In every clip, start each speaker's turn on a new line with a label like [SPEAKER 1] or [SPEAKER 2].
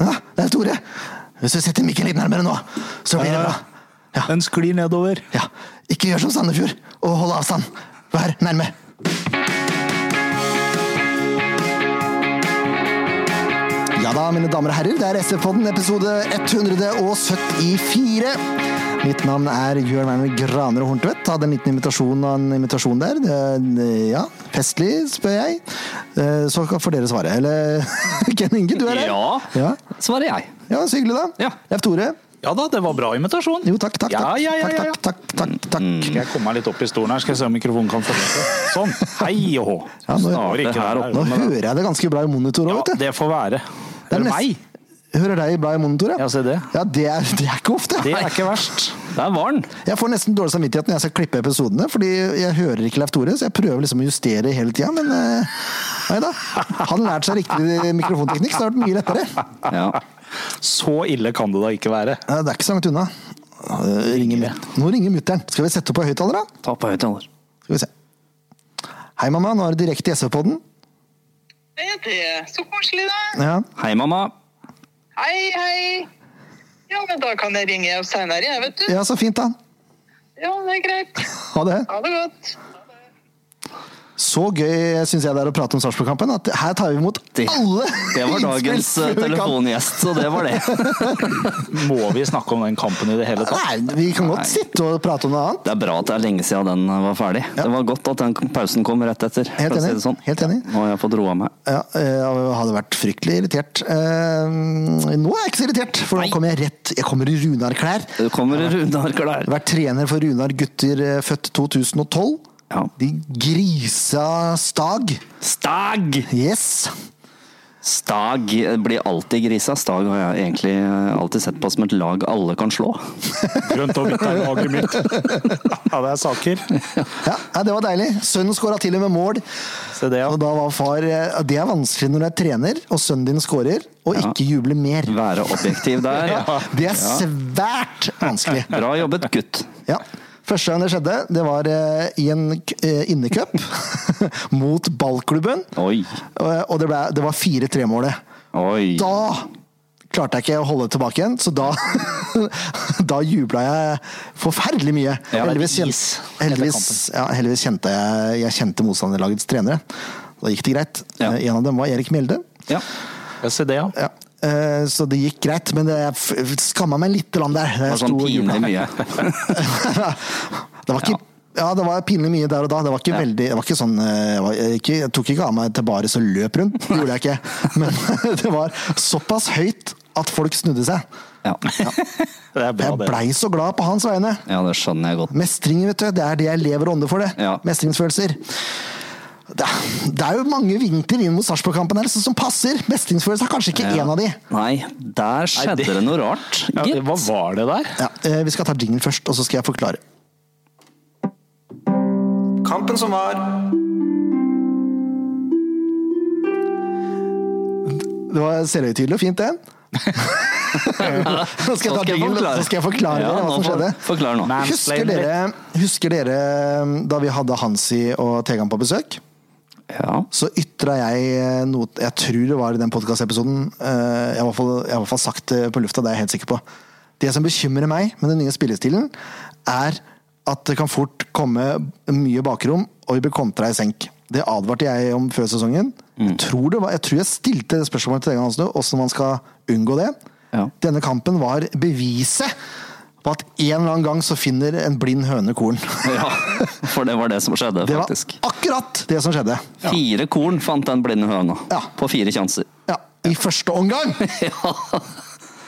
[SPEAKER 1] Ja, det er Tore! Hvis du setter mikken litt nærmere nå, så blir det bra. Ja,
[SPEAKER 2] Den sklir nedover.
[SPEAKER 1] ja. Ikke gjør som Sandefjord, og hold avstand. Vær nærme. Ja da, mine damer og herrer, det er SF-podden episode 174. Mitt navn er Jørn Werner Graner og Horntvedt. Hadde en liten invitasjon og en invitasjon der. Det- det- Ja, festlig, spør jeg. Eh, Så får dere svare. Eller Ken Inge, du er her.
[SPEAKER 2] Ja.
[SPEAKER 1] ja.
[SPEAKER 2] Svarer jeg.
[SPEAKER 1] Ja, så hyggelig, da.
[SPEAKER 2] Ja.
[SPEAKER 1] Leif Tore.
[SPEAKER 2] Ja da, det var bra invitasjon.
[SPEAKER 1] Jo, takk, takk, takk.
[SPEAKER 2] Ja, ja, ja, ja, Mm. ja.
[SPEAKER 1] takk, takk, takk, takk, takk.
[SPEAKER 2] Skal jeg komme meg litt opp i stolen her, skal jeg se om mikrofonen kan følge seg. Sånn. Hei og hå.
[SPEAKER 1] Ja, nå-
[SPEAKER 2] Snarere ikke der
[SPEAKER 1] Nå
[SPEAKER 2] oppe.
[SPEAKER 1] hører jeg det ganske bra i monitor òg,
[SPEAKER 2] Ja,
[SPEAKER 1] vet du.
[SPEAKER 2] det får være. Det er
[SPEAKER 1] nesten-
[SPEAKER 2] meg.
[SPEAKER 1] Hører deg bra i monitor,
[SPEAKER 2] Ja, se det.
[SPEAKER 1] Ja, det er, det er ikke ofte.
[SPEAKER 2] Det er ikke verst.
[SPEAKER 3] Der var den!
[SPEAKER 1] Jeg får nesten dårlig samvittighet når jeg skal klippe episodene, fordi jeg hører ikke Leif Tore, så jeg prøver liksom å justere hele tida, men eh, nei da. Hadde lært seg riktig mikrofonteknikk, så hadde det vært mye lettere.
[SPEAKER 3] Ja.
[SPEAKER 2] Så ille kan det da ikke være.
[SPEAKER 1] Eh, Det er ikke så langt unna. Eh, ringer mut. Nå ringer mutter'n. Skal vi sette på høyttaler, da?
[SPEAKER 3] Ta på høyttaler.
[SPEAKER 1] Skal vi se. Hei, mamma. Nå er det direkte i SV-podden.
[SPEAKER 4] Ja, det er så koselig, da.
[SPEAKER 1] Ja.
[SPEAKER 3] Hei, mamma.
[SPEAKER 4] Hei, hei. Ja, men da kan jeg ringe seinere, jeg, vet du.
[SPEAKER 1] ja, så fint, da.
[SPEAKER 4] Ja, det er greit.
[SPEAKER 1] Ha det.
[SPEAKER 4] Ha det godt.
[SPEAKER 1] Så gøy syns jeg det er å prate om Sarpsborg-kampen, at her tar vi imot
[SPEAKER 3] Det-
[SPEAKER 1] alle
[SPEAKER 3] Det var dagens
[SPEAKER 1] innspill før
[SPEAKER 3] eh,
[SPEAKER 1] vi kan-
[SPEAKER 3] telefongjest, så det var det.
[SPEAKER 2] Må vi snakke om den kampen i det hele tatt?
[SPEAKER 1] Nei, vi kan godt
[SPEAKER 3] Nei.
[SPEAKER 1] sitte og prate om noe annet.
[SPEAKER 3] Det er bra at det er lenge siden den eh, var ferdig. Det var godt at den pausen kom rett etter.
[SPEAKER 1] Helt
[SPEAKER 3] for å si
[SPEAKER 1] enig.
[SPEAKER 3] det sånn.
[SPEAKER 1] Helt enig.
[SPEAKER 3] Nå har jeg fått roa meg.
[SPEAKER 1] Ja, jeg hadde vært fryktelig irritert. Eh, Nå er jeg ikke så irritert, for nå kommer jeg rett Jeg kommer i Runar-klær.
[SPEAKER 3] Det kommer Runar
[SPEAKER 1] Jeg
[SPEAKER 3] Klær.
[SPEAKER 1] har vært trener for Runar gutter eh, født 2012.
[SPEAKER 3] Ja.
[SPEAKER 1] De grisa stag.
[SPEAKER 3] Stag!
[SPEAKER 1] Yes!
[SPEAKER 3] Stag blir alltid grisa. Stag har jeg egentlig eh, alltid sett på som et lag alle kan slå.
[SPEAKER 2] Grønt og hvitt er laget mitt. Ja, det er saker.
[SPEAKER 1] Ja, ja, det var deilig. Sønnen skåra til og med mål.
[SPEAKER 2] Se det, ja.
[SPEAKER 1] Og da var far eh, Det er vanskelig når du er trener og sønnen din skårer, og
[SPEAKER 3] Ja.
[SPEAKER 1] ikke juble mer.
[SPEAKER 3] Være objektiv der.
[SPEAKER 1] Ja, det er svært vanskelig.
[SPEAKER 3] Bra jobbet, gutt.
[SPEAKER 1] Ja. Første gang det skjedde, det var eh, i en k- eh, innecup mot ballklubben.
[SPEAKER 3] Oi.
[SPEAKER 1] Og og det, ble, det var 4-3-målet.
[SPEAKER 3] Oi.
[SPEAKER 1] Da klarte jeg ikke å holde tilbake igjen, så da, da jubla jeg forferdelig mye.
[SPEAKER 3] Ja, det er
[SPEAKER 1] heldigvis,
[SPEAKER 3] is
[SPEAKER 1] kjente, heldigvis, ja, heldigvis kjente jeg, jeg kjente motstanderlagets trenere. Da gikk det greit.
[SPEAKER 3] Ja.
[SPEAKER 1] Eh, En av dem var Erik Mjelde.
[SPEAKER 3] Ja.
[SPEAKER 2] Ja, se det, ja.
[SPEAKER 1] Ja. Eh, Så det gikk greit, men det- jeg f- skamma meg litt grann der.
[SPEAKER 3] Det
[SPEAKER 1] Jeg
[SPEAKER 3] var sånn
[SPEAKER 1] sto og jubla.
[SPEAKER 3] pinlig mye.
[SPEAKER 1] det var ikke ja, det var pinlig mye der og da. Det var ikke
[SPEAKER 3] Ja.
[SPEAKER 1] veldig Det var ikke sånn eh, jeg, var, jeg, ikke, jeg tok ikke av meg til baris og løp rundt. Det gjorde jeg ikke. Men det var såpass høyt at folk snudde seg.
[SPEAKER 3] Ja.
[SPEAKER 2] Det er bra,
[SPEAKER 1] Jeg
[SPEAKER 2] det.
[SPEAKER 1] blei så glad på hans vegne.
[SPEAKER 3] Ja, det skjønner jeg godt.
[SPEAKER 1] Mestring, vet du. Det er det jeg lever og ånder for, det.
[SPEAKER 3] Ja.
[SPEAKER 1] Mestringsfølelser. Det er, det er jo mange vinkler inn mot Sarpsborg-kampen her som- som passer. Mestringsfølelse er kanskje ikke én av de.
[SPEAKER 3] Nei, der skjedde
[SPEAKER 2] det-
[SPEAKER 3] det... noe rart,
[SPEAKER 2] Ja,
[SPEAKER 3] gitt.
[SPEAKER 2] det- hva var det der?
[SPEAKER 1] Ja, eh, vi skal ta jingle først, og så skal jeg forklare.
[SPEAKER 5] Kampen som var.
[SPEAKER 1] Det var selvhøytidelig og fint, det. Nå skal jeg ta jingle, og så skal jeg forklare
[SPEAKER 3] Ja,
[SPEAKER 1] dere hva
[SPEAKER 3] nå
[SPEAKER 1] som
[SPEAKER 3] for-
[SPEAKER 1] skjedde.
[SPEAKER 3] Forklar nå.
[SPEAKER 2] Nei.
[SPEAKER 1] Husker
[SPEAKER 2] Mansplain
[SPEAKER 1] dere, husker dere um, da vi hadde Hansi og Tegan på besøk?
[SPEAKER 3] Ja.
[SPEAKER 1] Så ytra jeg eh, noe Jeg tror det var i den podkastepisoden. Jeg har i hvert fall- jeg har i hvert fall sagt det på lufta, det er jeg helt sikker på. Det som bekymrer meg med den nye spillestilen, er at det kan fort komme mye bakrom, og vi blir kontra i senk. Det advarte jeg om før sesongen.
[SPEAKER 3] Mm.
[SPEAKER 1] Jeg, tror det var, jeg tror jeg stilte det spørsmålet til Tegan Hansen hvordan man skal unngå det.
[SPEAKER 3] Ja.
[SPEAKER 1] Denne kampen var beviset på at en eller annen gang så finner en blind høne korn.
[SPEAKER 3] ja. For det var det som skjedde,
[SPEAKER 1] Det var
[SPEAKER 3] faktisk.
[SPEAKER 1] akkurat det som skjedde.
[SPEAKER 3] Fire korn fant den blinde høna.
[SPEAKER 1] Ja.
[SPEAKER 3] På fire sjanser.
[SPEAKER 1] Ja, I første omgang!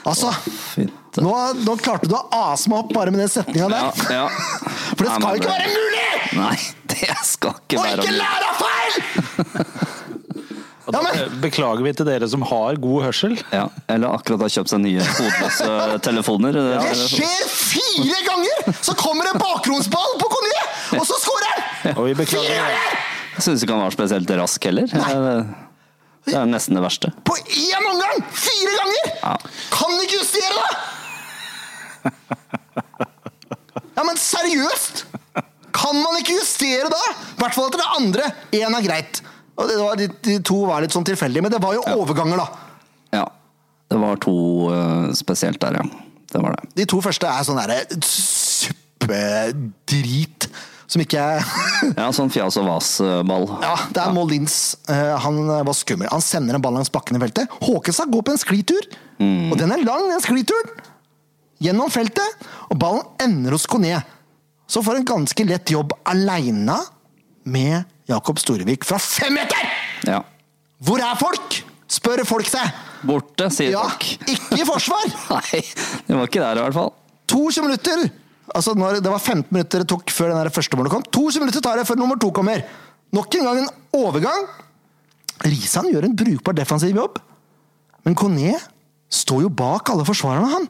[SPEAKER 1] Altså,
[SPEAKER 3] Fint.
[SPEAKER 1] nå, nå klarte du å ase meg opp bare med den setninga
[SPEAKER 3] Ja,
[SPEAKER 1] der.
[SPEAKER 3] ja.
[SPEAKER 1] For det
[SPEAKER 3] Nei,
[SPEAKER 1] skal
[SPEAKER 3] men
[SPEAKER 1] ikke
[SPEAKER 3] det-
[SPEAKER 1] være mulig
[SPEAKER 3] Nei, det skal ikke
[SPEAKER 1] å
[SPEAKER 3] være
[SPEAKER 1] ikke lære av feil!
[SPEAKER 2] Og da
[SPEAKER 1] Ja, men-
[SPEAKER 2] Beklager vi til dere som har god hørsel.
[SPEAKER 3] ja, Eller akkurat har kjøpt seg nye hodeløse telefoner.
[SPEAKER 1] Det
[SPEAKER 3] sånn.
[SPEAKER 1] skjer fire ganger! Så kommer en bakromsball på Konje, og så scorer han!
[SPEAKER 2] Og vi beklager
[SPEAKER 1] Fire
[SPEAKER 2] det.
[SPEAKER 1] ganger!
[SPEAKER 3] Syns ikke han var spesielt rask heller. Det er nesten det verste.
[SPEAKER 1] På én omgang! Fire ganger!
[SPEAKER 3] Ja.
[SPEAKER 1] Kan du ikke justere det?! Ja, men seriøst! Kan man ikke justere da? I hvert fall etter det andre. Én er greit. Og det var, de, de to var litt sånn tilfeldige, men det var jo overganger, da.
[SPEAKER 3] Ja. Det var to eh, spesielt der, ja. Det var det.
[SPEAKER 1] De to første er sånn derre suppedrit som ikke er
[SPEAKER 3] Ja, sånn fjas og vas-ball.
[SPEAKER 1] Ja, det er Moll Lins. Eh, Han var skummel. Han sender en ball langs bakken i feltet. Håkenstad går på en sklitur, og den er lang, den sklituren! Gjennom feltet, og ballen ender hos Kone. Så får en ganske lett jobb aleine med Jakob Storevik fra fem meter!
[SPEAKER 3] Ja.
[SPEAKER 1] Hvor er folk? spør folk seg.
[SPEAKER 3] Borte, sier
[SPEAKER 1] Ja,
[SPEAKER 3] folk.
[SPEAKER 1] ikke i forsvar!
[SPEAKER 3] Nei, det var ikke der i hvert fall.
[SPEAKER 1] 22 minutter! Altså, når det var 15 minutter det tok før den der første målet kom. 22 minutter tar det før nummer to kommer. Nok en gang en overgang. Risan gjør en brukbar defensiv jobb, men Kone står jo bak alle forsvarerne, han.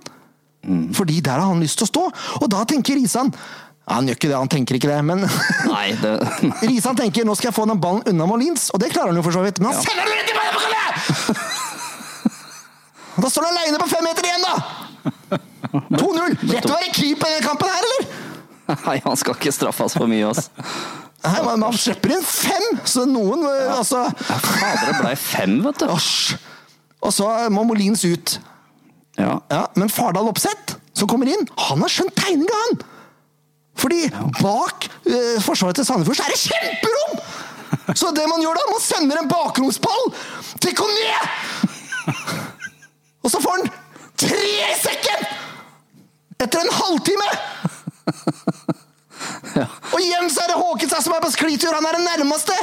[SPEAKER 1] Fordi der har han lyst til å stå. Og da tenker Risan Han gjør ikke det, han tenker ikke det, men
[SPEAKER 3] Nei, det
[SPEAKER 1] Risan tenker 'nå skal jeg få den ballen unna Molins', og det klarer han jo for så vidt. Men han sender den ut i ballen på Kone! Og Da står han aleine på fem meter igjen, da! 2-0! Lett å være keeper i denne kampen her, eller?
[SPEAKER 3] Nei, han skal ikke straffes for mye, ass.
[SPEAKER 1] Nei, man, man slipper inn fem, så noen eh, Altså
[SPEAKER 3] Fader, det blei fem, vet du.
[SPEAKER 1] Asj! Og så må Molins ut.
[SPEAKER 3] Ja.
[SPEAKER 1] Ja, men Fardal Opseth, som kommer inn, han har skjønt tegninga, han! Fordi bak eh, forsvaret til Sandefjord så er det kjemperom! Så det man gjør da, man sender en bakromsball til Kone! Og så får han tre i sekken! Etter en halvtime! Og igjen så er det Håkenstad som er på sklitur, han er den nærmeste!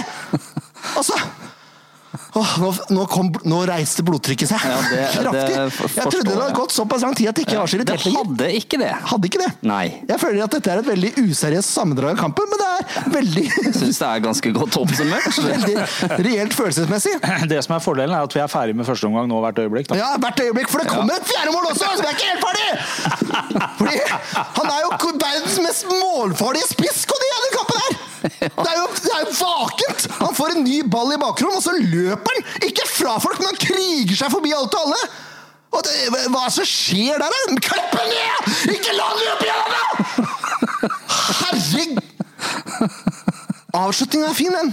[SPEAKER 1] Og så Åh, nå, nå, kom, nå reiste blodtrykket seg
[SPEAKER 3] Ja, det- det
[SPEAKER 1] kraftig.
[SPEAKER 3] forstår
[SPEAKER 1] Jeg trodde det
[SPEAKER 3] jeg.
[SPEAKER 1] hadde gått såpass lang tid at det ikke var så
[SPEAKER 3] Det
[SPEAKER 1] irritert lenger.
[SPEAKER 3] hadde ikke det.
[SPEAKER 1] Hadde ikke det.
[SPEAKER 3] Nei.
[SPEAKER 1] Jeg føler at dette er et veldig useriøst sammendrag av kampen, men det er veldig,
[SPEAKER 3] Syns det er ganske godt oppsummert.
[SPEAKER 1] veldig reelt følelsesmessig.
[SPEAKER 2] Det som er fordelen, er at vi er ferdig med første omgang nå hvert øyeblikk. Da.
[SPEAKER 1] Ja, hvert øyeblikk, for det kommer et fjerde mål også! Så vi er ikke helt ferdig! Fordi han er jo verdens mest målfarlige spiss, Kodi, i den kampen her! Det er, jo, det er jo vakent! Han får en ny ball i bakrom, og så løper han! Ikke fra folk, men han kriger seg forbi alt og alle! Og det, hva er det som skjer der, da? Klipp den ned! Ikke la den løpe gjennom, da! Herregud! Avslutningen er fin, den.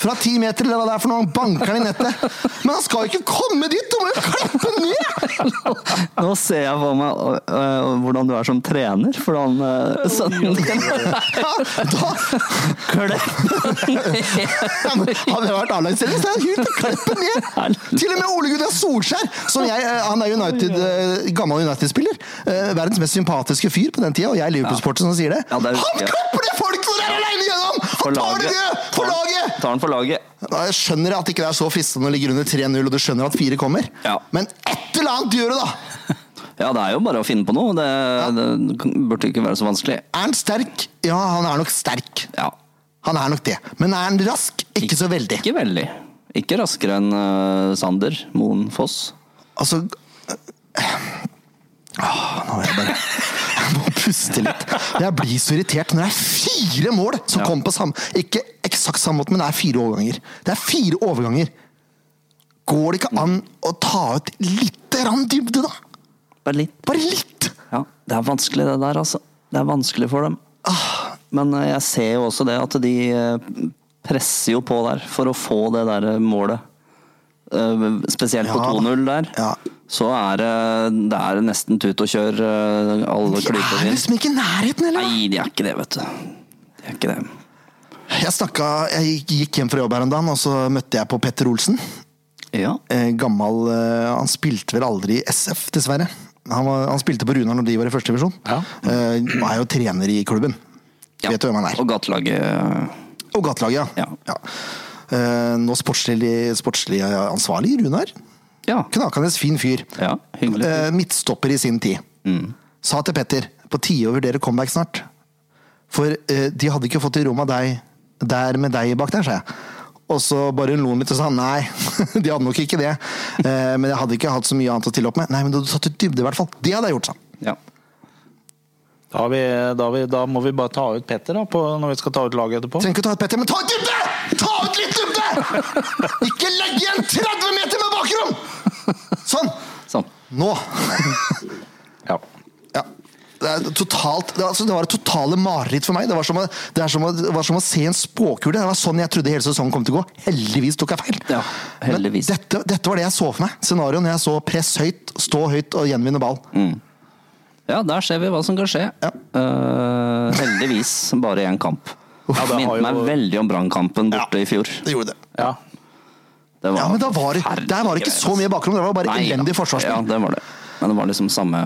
[SPEAKER 1] Fra ti meter, eller hva det er for noe. Han banker den i nettet. Men han skal jo ikke komme dit! Du må jo klippe den ned!
[SPEAKER 3] Nå ser jeg for meg øh, øh, hvordan du er som trener for han øh, sønnen din.
[SPEAKER 1] Ja, da Han han har vært avlagstrener, så det er helt å klippe den ned! Til og med Ole Gunnar Solskjær, som jeg, eh, han er United, eh, gammel United-spiller. eh, Verdens mest sympatiske fyr på den tida, og jeg er Liverpool-sporter som sier det.
[SPEAKER 3] Ja, det er-
[SPEAKER 1] han
[SPEAKER 3] ja.
[SPEAKER 1] klipper ned folk når de er aleine gjennom!
[SPEAKER 3] For
[SPEAKER 1] Han tar det ned!
[SPEAKER 3] Tar
[SPEAKER 1] For
[SPEAKER 3] han-
[SPEAKER 1] laget!
[SPEAKER 3] Tar han for laget.
[SPEAKER 1] Ja, Jeg skjønner at ikke det er så fristende å ligge under 3-0, og du skjønner at 4 kommer.
[SPEAKER 3] Ja.
[SPEAKER 1] Men et eller annet gjør du, da!
[SPEAKER 3] Ja, det er jo bare å finne på noe. Det, det burde ikke være så vanskelig.
[SPEAKER 1] Er han sterk? Ja, han er nok sterk.
[SPEAKER 3] Ja.
[SPEAKER 1] Han er nok det. Men er han rask? Ikke så veldig.
[SPEAKER 3] Ikke veldig. Ikke raskere enn øh, Sander Moen Foss.
[SPEAKER 1] Altså Åh, Nå er jeg bare Jeg må puste litt. Jeg blir så irritert når det er fire mål som
[SPEAKER 3] Ja.
[SPEAKER 1] kommer på samme Ikke eksakt samme måte, men det er fire overganger. Det er fire overganger. Går det ikke an å ta ut lite grann dybde, da?
[SPEAKER 3] Bare litt.
[SPEAKER 1] Bare litt!
[SPEAKER 3] Ja, det er vanskelig det der, altså. Det er vanskelig for dem. Men eh, jeg ser jo også det at de eh, presser jo på der for å få det der eh, målet. Eh, Spesielt på
[SPEAKER 1] Ja da.
[SPEAKER 3] 2-0 der.
[SPEAKER 1] Ja.
[SPEAKER 3] Så er det, det er nesten tut og kjør eh,
[SPEAKER 1] De
[SPEAKER 3] alle
[SPEAKER 1] er
[SPEAKER 3] klyper inn.
[SPEAKER 1] liksom ikke i nærheten, eller?
[SPEAKER 3] Nei, de er ikke det, vet du. De er ikke det.
[SPEAKER 1] Jeg, snakka, jeg gikk hjem fra jobb her en dag, og så møtte jeg på Petter Olsen.
[SPEAKER 3] Ja.
[SPEAKER 1] Eh, Gammel eh, Han spilte vel aldri i SF, dessverre. Han, var, han spilte på Runar når de var i første divisjon.
[SPEAKER 2] Ja.
[SPEAKER 1] Eh, er jo trener i klubben.
[SPEAKER 3] Ja.
[SPEAKER 1] Vet du hvem han er?
[SPEAKER 3] Og gatelaget eh,
[SPEAKER 1] Og gatelaget, ja.
[SPEAKER 3] Ja.
[SPEAKER 1] ja. Eh, nå sportslig, sportslig ansvarlig, Runar.
[SPEAKER 3] Ja.
[SPEAKER 1] Knakende fin fyr.
[SPEAKER 3] ja hyggelig.
[SPEAKER 1] Eh, midtstopper i sin tid. Sa til Petter på tide å vurdere comeback snart. For eh, de hadde ikke fått i rom av deg der med deg bak der, sa jeg. Og så bare lo han litt og sa nei, de hadde nok ikke det. Eh, men jeg hadde ikke hatt så mye annet å stille opp med. Nei, men du hadde tatt ut dybde, i hvert fall. Det hadde jeg gjort, sa han.
[SPEAKER 3] Ja.
[SPEAKER 2] Da, har vi, da, har vi, da må vi bare ta ut Petter da, på, når vi skal ta ut laget etterpå.
[SPEAKER 1] Trenger ikke å ta ut Petter, men ta ut dybde! Ta ut litt dybde! Ikke legg igjen 30 meter med bakrom! Sånn.
[SPEAKER 3] Sånn.
[SPEAKER 1] Nå.
[SPEAKER 2] Ja.
[SPEAKER 1] Ja. Det, er totalt, det, er- altså, det var et totale mareritt for meg. Det var som å, det er som å, det var som å se en spåkule. Det var sånn jeg trodde hele sesongen kom til å gå. Heldigvis tok jeg feil.
[SPEAKER 3] Ja, heldigvis.
[SPEAKER 1] Men dette, dette var det jeg så for meg. Scenarioet når jeg så press høyt, stå høyt og gjenvinne ball.
[SPEAKER 3] Mm. Ja, der ser vi hva som kan skje.
[SPEAKER 1] Ja.
[SPEAKER 3] Eh, heldigvis bare én kamp.
[SPEAKER 2] Ja, det har
[SPEAKER 3] Minnet
[SPEAKER 2] jo-
[SPEAKER 3] meg veldig om Brannkampen borte i fjor.
[SPEAKER 1] Det gjorde det.
[SPEAKER 2] Ja.
[SPEAKER 3] Det var
[SPEAKER 1] Ja, men da var, det- der var det ikke så mye bakrom. Det var bare
[SPEAKER 3] Nei,
[SPEAKER 1] elendig
[SPEAKER 3] ja.
[SPEAKER 1] forsvarsspill.
[SPEAKER 3] Ja, det var det. Men det var liksom samme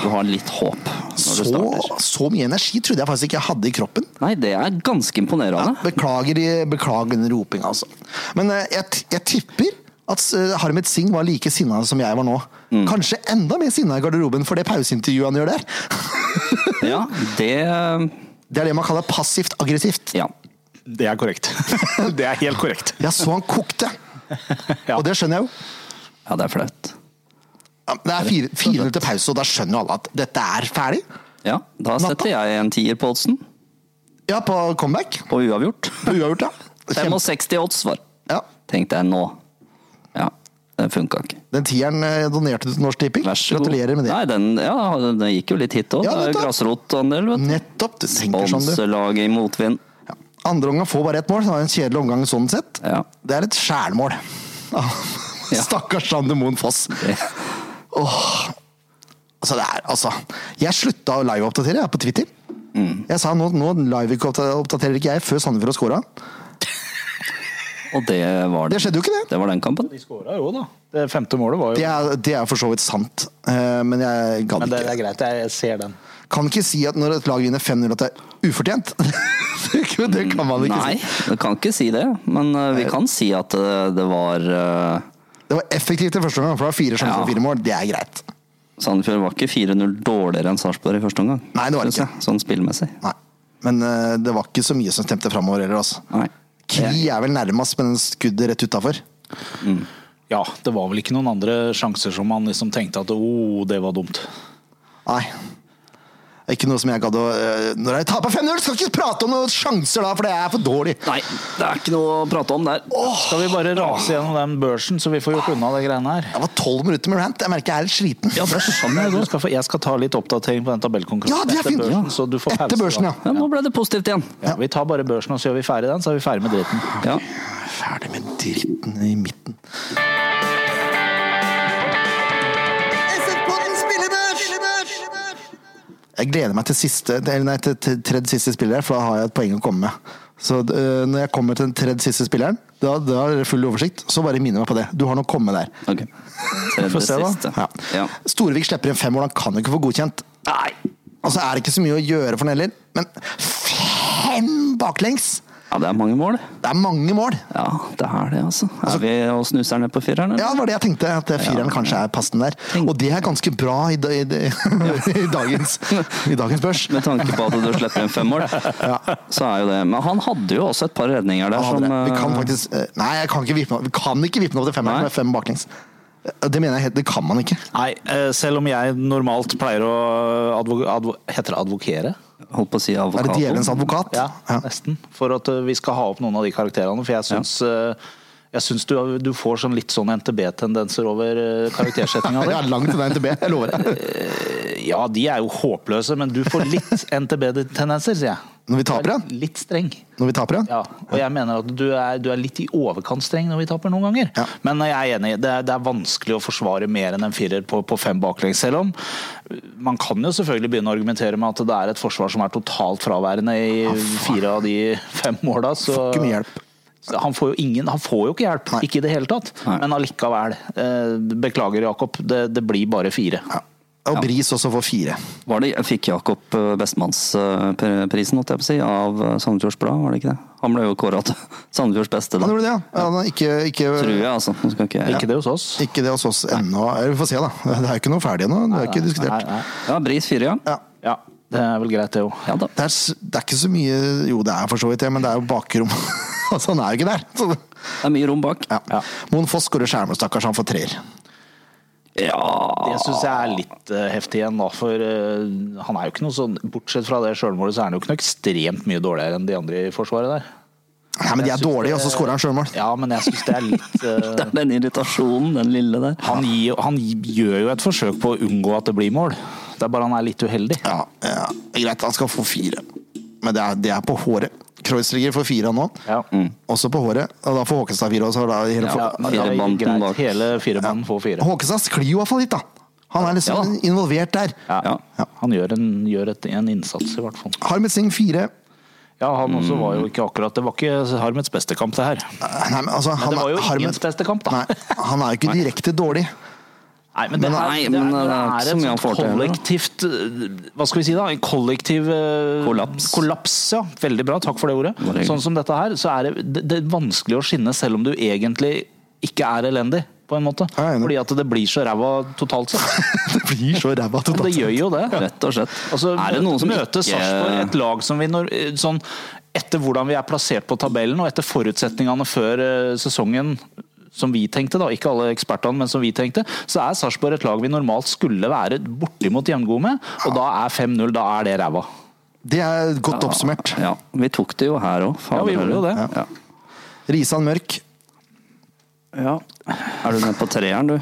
[SPEAKER 3] Du har litt håp når du
[SPEAKER 1] så,
[SPEAKER 3] starter.
[SPEAKER 1] så mye energi trodde jeg faktisk ikke jeg hadde i kroppen.
[SPEAKER 3] Nei, det er ganske imponerende.
[SPEAKER 1] Beklager, i- beklager den ropinga, altså. Men eh, jeg, t- jeg tipper at eh, Harmet Singh var like sinna som jeg var nå. Kanskje enda mer sinna i garderoben for det pauseintervjuet han gjør der.
[SPEAKER 3] Ja, det
[SPEAKER 1] Det er det man kaller passivt aggressivt.
[SPEAKER 3] Ja.
[SPEAKER 2] Det er korrekt. det er helt korrekt.
[SPEAKER 1] Jeg så han kokte,
[SPEAKER 2] Ja.
[SPEAKER 1] og det skjønner jeg jo.
[SPEAKER 3] ja det er flaut.
[SPEAKER 1] Ja, men Det er fire- fire minutter til pause, og da skjønner jo alle at dette er ferdig.
[SPEAKER 3] Ja, da
[SPEAKER 1] Natta.
[SPEAKER 3] setter jeg en tier på oddsen.
[SPEAKER 1] Ja, på comeback.
[SPEAKER 3] På uavgjort.
[SPEAKER 1] På uavgjort, ja. Kjempe-
[SPEAKER 3] 65 odds var,
[SPEAKER 1] ja.
[SPEAKER 3] tenkte jeg nå. Ja, den funka ikke.
[SPEAKER 1] Den tieren eh, donerte du til Norsk Tipping.
[SPEAKER 3] Vær så god.
[SPEAKER 1] Gratulerer med det.
[SPEAKER 3] Nei, den, ja, den- den gikk jo litt hit òg.
[SPEAKER 1] Ja,
[SPEAKER 3] Ja,
[SPEAKER 1] nettopp.
[SPEAKER 3] Grasrotandel, vet du.
[SPEAKER 1] Nettopp. Du tenker sånn, du.
[SPEAKER 3] Bonselaget i motvind.
[SPEAKER 1] Ja. Andre omgang får bare ett mål, så det er en kjedelig omgang sånn sett.
[SPEAKER 3] Ja.
[SPEAKER 1] Det er et skjælmål.
[SPEAKER 3] Ja.
[SPEAKER 1] Stakkars Sander Moen Foss. Åh. Altså, det er, altså, jeg slutta å liveoppdatere jeg, på Twitter. Jeg sa nå, nå live-oppdaterer ikke jeg før Sandefjord har scora.
[SPEAKER 3] Og det var
[SPEAKER 1] Det skjedde jo ikke, det.
[SPEAKER 3] Det var den kampen.
[SPEAKER 2] De skåra jo, da. Det femte målet var jo
[SPEAKER 1] Det er, det er for så vidt sant, eh, men jeg gadd
[SPEAKER 2] Men det, det
[SPEAKER 1] ikke.
[SPEAKER 2] er greit, jeg ser den.
[SPEAKER 1] Kan ikke si at når et lag vinner 5-0 at det er ufortjent. det kan man ikke
[SPEAKER 3] Nei,
[SPEAKER 1] si.
[SPEAKER 3] vi kan ikke si det. Men eh, vi kan si at eh, det var eh,
[SPEAKER 1] Det var effektivt i første omgang, for det var fire sjanser
[SPEAKER 3] Ja.
[SPEAKER 1] og fire mål. Det er greit.
[SPEAKER 3] Sandefjord var ikke 4-0 dårligere enn Sarpsborg i første omgang.
[SPEAKER 1] Nei, det var det
[SPEAKER 3] synes jeg, Sånn spillmessig.
[SPEAKER 1] Nei. Men eh, det var ikke så mye som stemte framover heller. Altså.
[SPEAKER 3] Nei.
[SPEAKER 1] Kri er vel nærmest med den skuddet rett utafor.
[SPEAKER 2] Ja, det var vel ikke noen andre sjanser som man liksom tenkte at oh, det var dumt.
[SPEAKER 1] Nei. Ikke noe som jeg gadd å eh, Når jeg taper 5-0, skal jeg ikke prate om noen sjanser da, for det er for dårlig!
[SPEAKER 3] Nei, det er ikke noe å prate om der.
[SPEAKER 2] Skal vi bare rase gjennom den børsen, så vi får gjort unna de greiene her?
[SPEAKER 1] Det var tolv minutter med rant. Jeg merker jeg er litt sliten.
[SPEAKER 2] Ja, det er sånn jeg, du skal få, jeg skal ta litt oppdatering på den tabellkonkurransen.
[SPEAKER 1] Ja, det er
[SPEAKER 2] etter
[SPEAKER 1] fint.
[SPEAKER 2] Børsen, så du får pause,
[SPEAKER 1] Etter børsen,
[SPEAKER 2] da.
[SPEAKER 1] ja.
[SPEAKER 3] Ja, nå ble det positivt igjen.
[SPEAKER 2] ja. Vi tar bare børsen, og så gjør vi ferdig den, så er vi ferdig med dritten.
[SPEAKER 3] Ja.
[SPEAKER 1] Ferdig med dritten i midten. Jeg gleder meg til siste eller Nei, til, til tredje siste spiller, for da har jeg et poeng å komme med. Så øh, når jeg kommer til den tredje siste spilleren, da, da er det full oversikt. Så bare minne meg på det. Du har noe å komme med der.
[SPEAKER 3] Ok. Tredje
[SPEAKER 2] Få se, da.
[SPEAKER 3] siste.
[SPEAKER 1] Ja.
[SPEAKER 3] Ja.
[SPEAKER 1] Storevik slipper inn fem mål, han kan jo ikke få godkjent.
[SPEAKER 3] Nei.
[SPEAKER 1] Altså er det ikke så mye å gjøre for han heller, men fem baklengs!
[SPEAKER 3] Ja, det er mange mål.
[SPEAKER 1] Det er mange mål!
[SPEAKER 3] Ja, det er det, altså. Er vi og snuser ned på fireren? eller?
[SPEAKER 1] Ja, det var det jeg tenkte, at fireren kanskje er passende der. Og det er ganske bra i, da- i, i, dagens, i dagens børs.
[SPEAKER 3] Med tanke på at du slipper inn fem mål, så er jo det Men han hadde jo også et par redninger der
[SPEAKER 1] Ja,
[SPEAKER 3] som
[SPEAKER 1] dere, vi kan
[SPEAKER 3] eh,
[SPEAKER 1] faktisk eh, Nei, jeg kan ikke vippe den opp. vi kan ikke vippe den opp til femmeren
[SPEAKER 3] Nei.
[SPEAKER 1] med fem baklengs. Eh, Det mener jeg helt, det kan man ikke.
[SPEAKER 2] Nei, eh, selv om jeg normalt pleier å advo advo Heter det advokere?
[SPEAKER 3] Holdt på å si
[SPEAKER 1] Er det
[SPEAKER 3] avokado.
[SPEAKER 1] djevelens advokat?
[SPEAKER 2] Ja, nesten. For at eh, vi skal ha opp noen av de karakterene. For jeg syns, eh, jeg syns du, har- du får sånn litt sånn NTB-tendenser over eh, karaktersettinga
[SPEAKER 1] Jeg
[SPEAKER 2] di.
[SPEAKER 1] er langt unna NTB, jeg lover det.
[SPEAKER 2] Ja, de er jo håpløse, men du får litt NTB-tendenser, sier jeg.
[SPEAKER 1] Når vi
[SPEAKER 2] Du
[SPEAKER 1] taper
[SPEAKER 2] er
[SPEAKER 1] igjen?
[SPEAKER 2] Litt streng.
[SPEAKER 1] Når vi taper igjen?
[SPEAKER 2] Ja, og jeg mener at du er, du er litt i overkant streng når vi taper noen ganger.
[SPEAKER 1] Ja.
[SPEAKER 2] Men jeg er enig, det er, det er vanskelig å forsvare mer enn en firer på, på fem baklengs. Selv om man kan jo selvfølgelig begynne å argumentere med at det er et forsvar som er totalt fraværende i fire av de fem måla. Så
[SPEAKER 1] Får ikke mye hjelp.
[SPEAKER 2] Så Han får jo ingen, han får jo ikke hjelp,
[SPEAKER 1] Nei.
[SPEAKER 2] ikke i det hele tatt.
[SPEAKER 3] Nei.
[SPEAKER 2] Men allikevel. Eh, beklager, Jakob, det, det blir bare fire.
[SPEAKER 1] Ja. Og Bris også får fire.
[SPEAKER 3] Var det, fikk Jakob eh, Bestemannsprisen, holdt jeg på å si, av eh, Sandefjords Blad, var det ikke det? Han ble jo kåra til Sandefjords beste, da.
[SPEAKER 1] Han gjorde det, ja. ja. han er Ikke,
[SPEAKER 3] Tror
[SPEAKER 1] ikke,
[SPEAKER 3] jeg, altså. Nå skal ikke jeg
[SPEAKER 2] Ikke det hos oss.
[SPEAKER 1] ikke det hos oss ennå. Eller Vi får se, da. Det er jo ikke noe ferdig ennå. Det er ikke
[SPEAKER 2] Nei,
[SPEAKER 1] diskutert.
[SPEAKER 2] nei.
[SPEAKER 3] Ja, Bris fire, ja.
[SPEAKER 1] Ja.
[SPEAKER 2] Ja, det er vel greit, det òg.
[SPEAKER 3] Ja da.
[SPEAKER 1] Det, er, s- det er ikke så mye Jo, det er for så vidt det, men det er jo bakrom. altså, han er jo ikke der. Så,
[SPEAKER 3] Det er mye rom bak.
[SPEAKER 1] ja.
[SPEAKER 2] Ja.
[SPEAKER 1] Moen Foss skårer skjermer, stakkars. Han får treer.
[SPEAKER 3] Ja
[SPEAKER 2] Det syns jeg er litt eh, heftig igjen, da. For eh, han er jo ikke noe sånn Bortsett fra det sjølmålet, så er han jo ikke noe ekstremt mye dårligere enn de andre i Forsvaret der.
[SPEAKER 1] Nei, men de er dårlige, og så skårer han sjølmål.
[SPEAKER 2] Ja, men jeg syns det er litt
[SPEAKER 3] Det
[SPEAKER 2] eh,
[SPEAKER 3] er den irritasjonen, den lille der.
[SPEAKER 2] han, gir, han gjør jo et forsøk på å unngå at det blir mål. Det er bare han er litt uheldig.
[SPEAKER 1] Ja, ja. Greit, han skal få fire. Men det er, det er på håret. Kreuzriger får fire han nå,
[SPEAKER 2] Ja.
[SPEAKER 1] også på håret. Og da får Håkenstad fire. Også, da, er det hele
[SPEAKER 2] Mm. Ja,
[SPEAKER 1] for-
[SPEAKER 2] men det er
[SPEAKER 3] Firebanden
[SPEAKER 2] greit.
[SPEAKER 3] bak.
[SPEAKER 2] Hele firebanden får fire.
[SPEAKER 1] Håkenstad sklir jo i hvert fall litt, da. Han er liksom
[SPEAKER 3] Ja, da.
[SPEAKER 1] involvert der.
[SPEAKER 2] Ja.
[SPEAKER 1] Ja.
[SPEAKER 2] Han gjør en, gjør et, en innsats, i hvert fall. Mm.
[SPEAKER 1] Harmet Singh fire.
[SPEAKER 2] Ja, han også var jo ikke akkurat Det var ikke Harmets beste kamp, det her.
[SPEAKER 1] Nei, men, altså, han
[SPEAKER 2] det
[SPEAKER 1] er-
[SPEAKER 2] var jo
[SPEAKER 1] Harmet-
[SPEAKER 2] ingens beste kamp, da.
[SPEAKER 1] Nei, han er jo ikke direkte dårlig.
[SPEAKER 2] Nei, men det,
[SPEAKER 3] Men
[SPEAKER 2] her-
[SPEAKER 3] nei,
[SPEAKER 2] det,
[SPEAKER 3] men
[SPEAKER 2] her-
[SPEAKER 3] det er ikke så
[SPEAKER 2] et
[SPEAKER 3] mye han
[SPEAKER 2] sånt
[SPEAKER 3] får til, eller?
[SPEAKER 2] kollektivt øh, Hva skal vi si da? En kollektiv øh,
[SPEAKER 3] Kollaps.
[SPEAKER 2] Kollaps, ja. Veldig bra, takk for det ordet.
[SPEAKER 3] Bare hyggelig.
[SPEAKER 2] Sånn som dette her, så er det, det, det er vanskelig å skinne selv om du egentlig ikke er elendig, på en måte.
[SPEAKER 1] Ja, jeg er enig.
[SPEAKER 2] Fordi at det blir så ræva totalt sett.
[SPEAKER 1] Det blir så ræva
[SPEAKER 2] Men det
[SPEAKER 1] totalt.
[SPEAKER 2] gjør jo det.
[SPEAKER 3] Rett og slett.
[SPEAKER 2] Altså,
[SPEAKER 3] er det noen som
[SPEAKER 2] møter
[SPEAKER 3] ikke
[SPEAKER 2] Sarpsborg, et lag som vi når, sånn, etter hvordan vi er plassert på tabellen, og etter forutsetningene før eh, sesongen som vi tenkte, da, ikke alle ekspertene, men som vi tenkte, så er Sarpsborg et lag vi normalt skulle være bortimot jevngode med, og da er 5-0, da er det ræva.
[SPEAKER 1] Det er godt oppsummert.
[SPEAKER 3] Ja, vi tok det jo her òg.
[SPEAKER 2] Ja, vi gjorde jo det.
[SPEAKER 3] Ja.
[SPEAKER 1] Risan Mørk.
[SPEAKER 3] Ja. Er du med på treeren, du?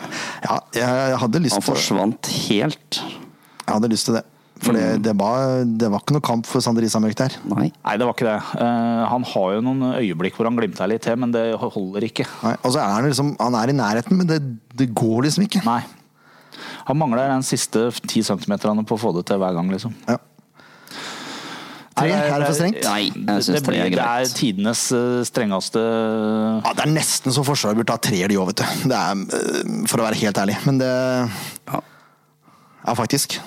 [SPEAKER 1] Ja, jeg hadde lyst
[SPEAKER 3] Han
[SPEAKER 1] til
[SPEAKER 3] forsvant helt.
[SPEAKER 1] Jeg hadde lyst til det. For det,
[SPEAKER 2] Mm.
[SPEAKER 1] det, var, det var ikke noe kamp for Sander Risan Mørk der.
[SPEAKER 3] Nei.
[SPEAKER 2] Nei, det var ikke det. Eh, han har jo noen øyeblikk hvor han glimter litt til, men det holder ikke.
[SPEAKER 1] Nei, og så er han liksom Han er i nærheten, men det, det går liksom ikke.
[SPEAKER 2] Nei. Han mangler den siste ti centimeterne på å få det til hver gang, liksom.
[SPEAKER 1] Ja. Tre,
[SPEAKER 2] Nei,
[SPEAKER 1] her er det for strengt.
[SPEAKER 3] Nei, jeg
[SPEAKER 2] det,
[SPEAKER 3] syns tre
[SPEAKER 2] blir,
[SPEAKER 3] er
[SPEAKER 2] det
[SPEAKER 3] greit.
[SPEAKER 2] er tidenes eh, strengeste
[SPEAKER 1] Ja, det er nesten så Forsvaret burde ha treer, de òg, vet du. Det er, øh, for å være helt ærlig. Men det
[SPEAKER 3] Ja.
[SPEAKER 1] Ja, faktisk.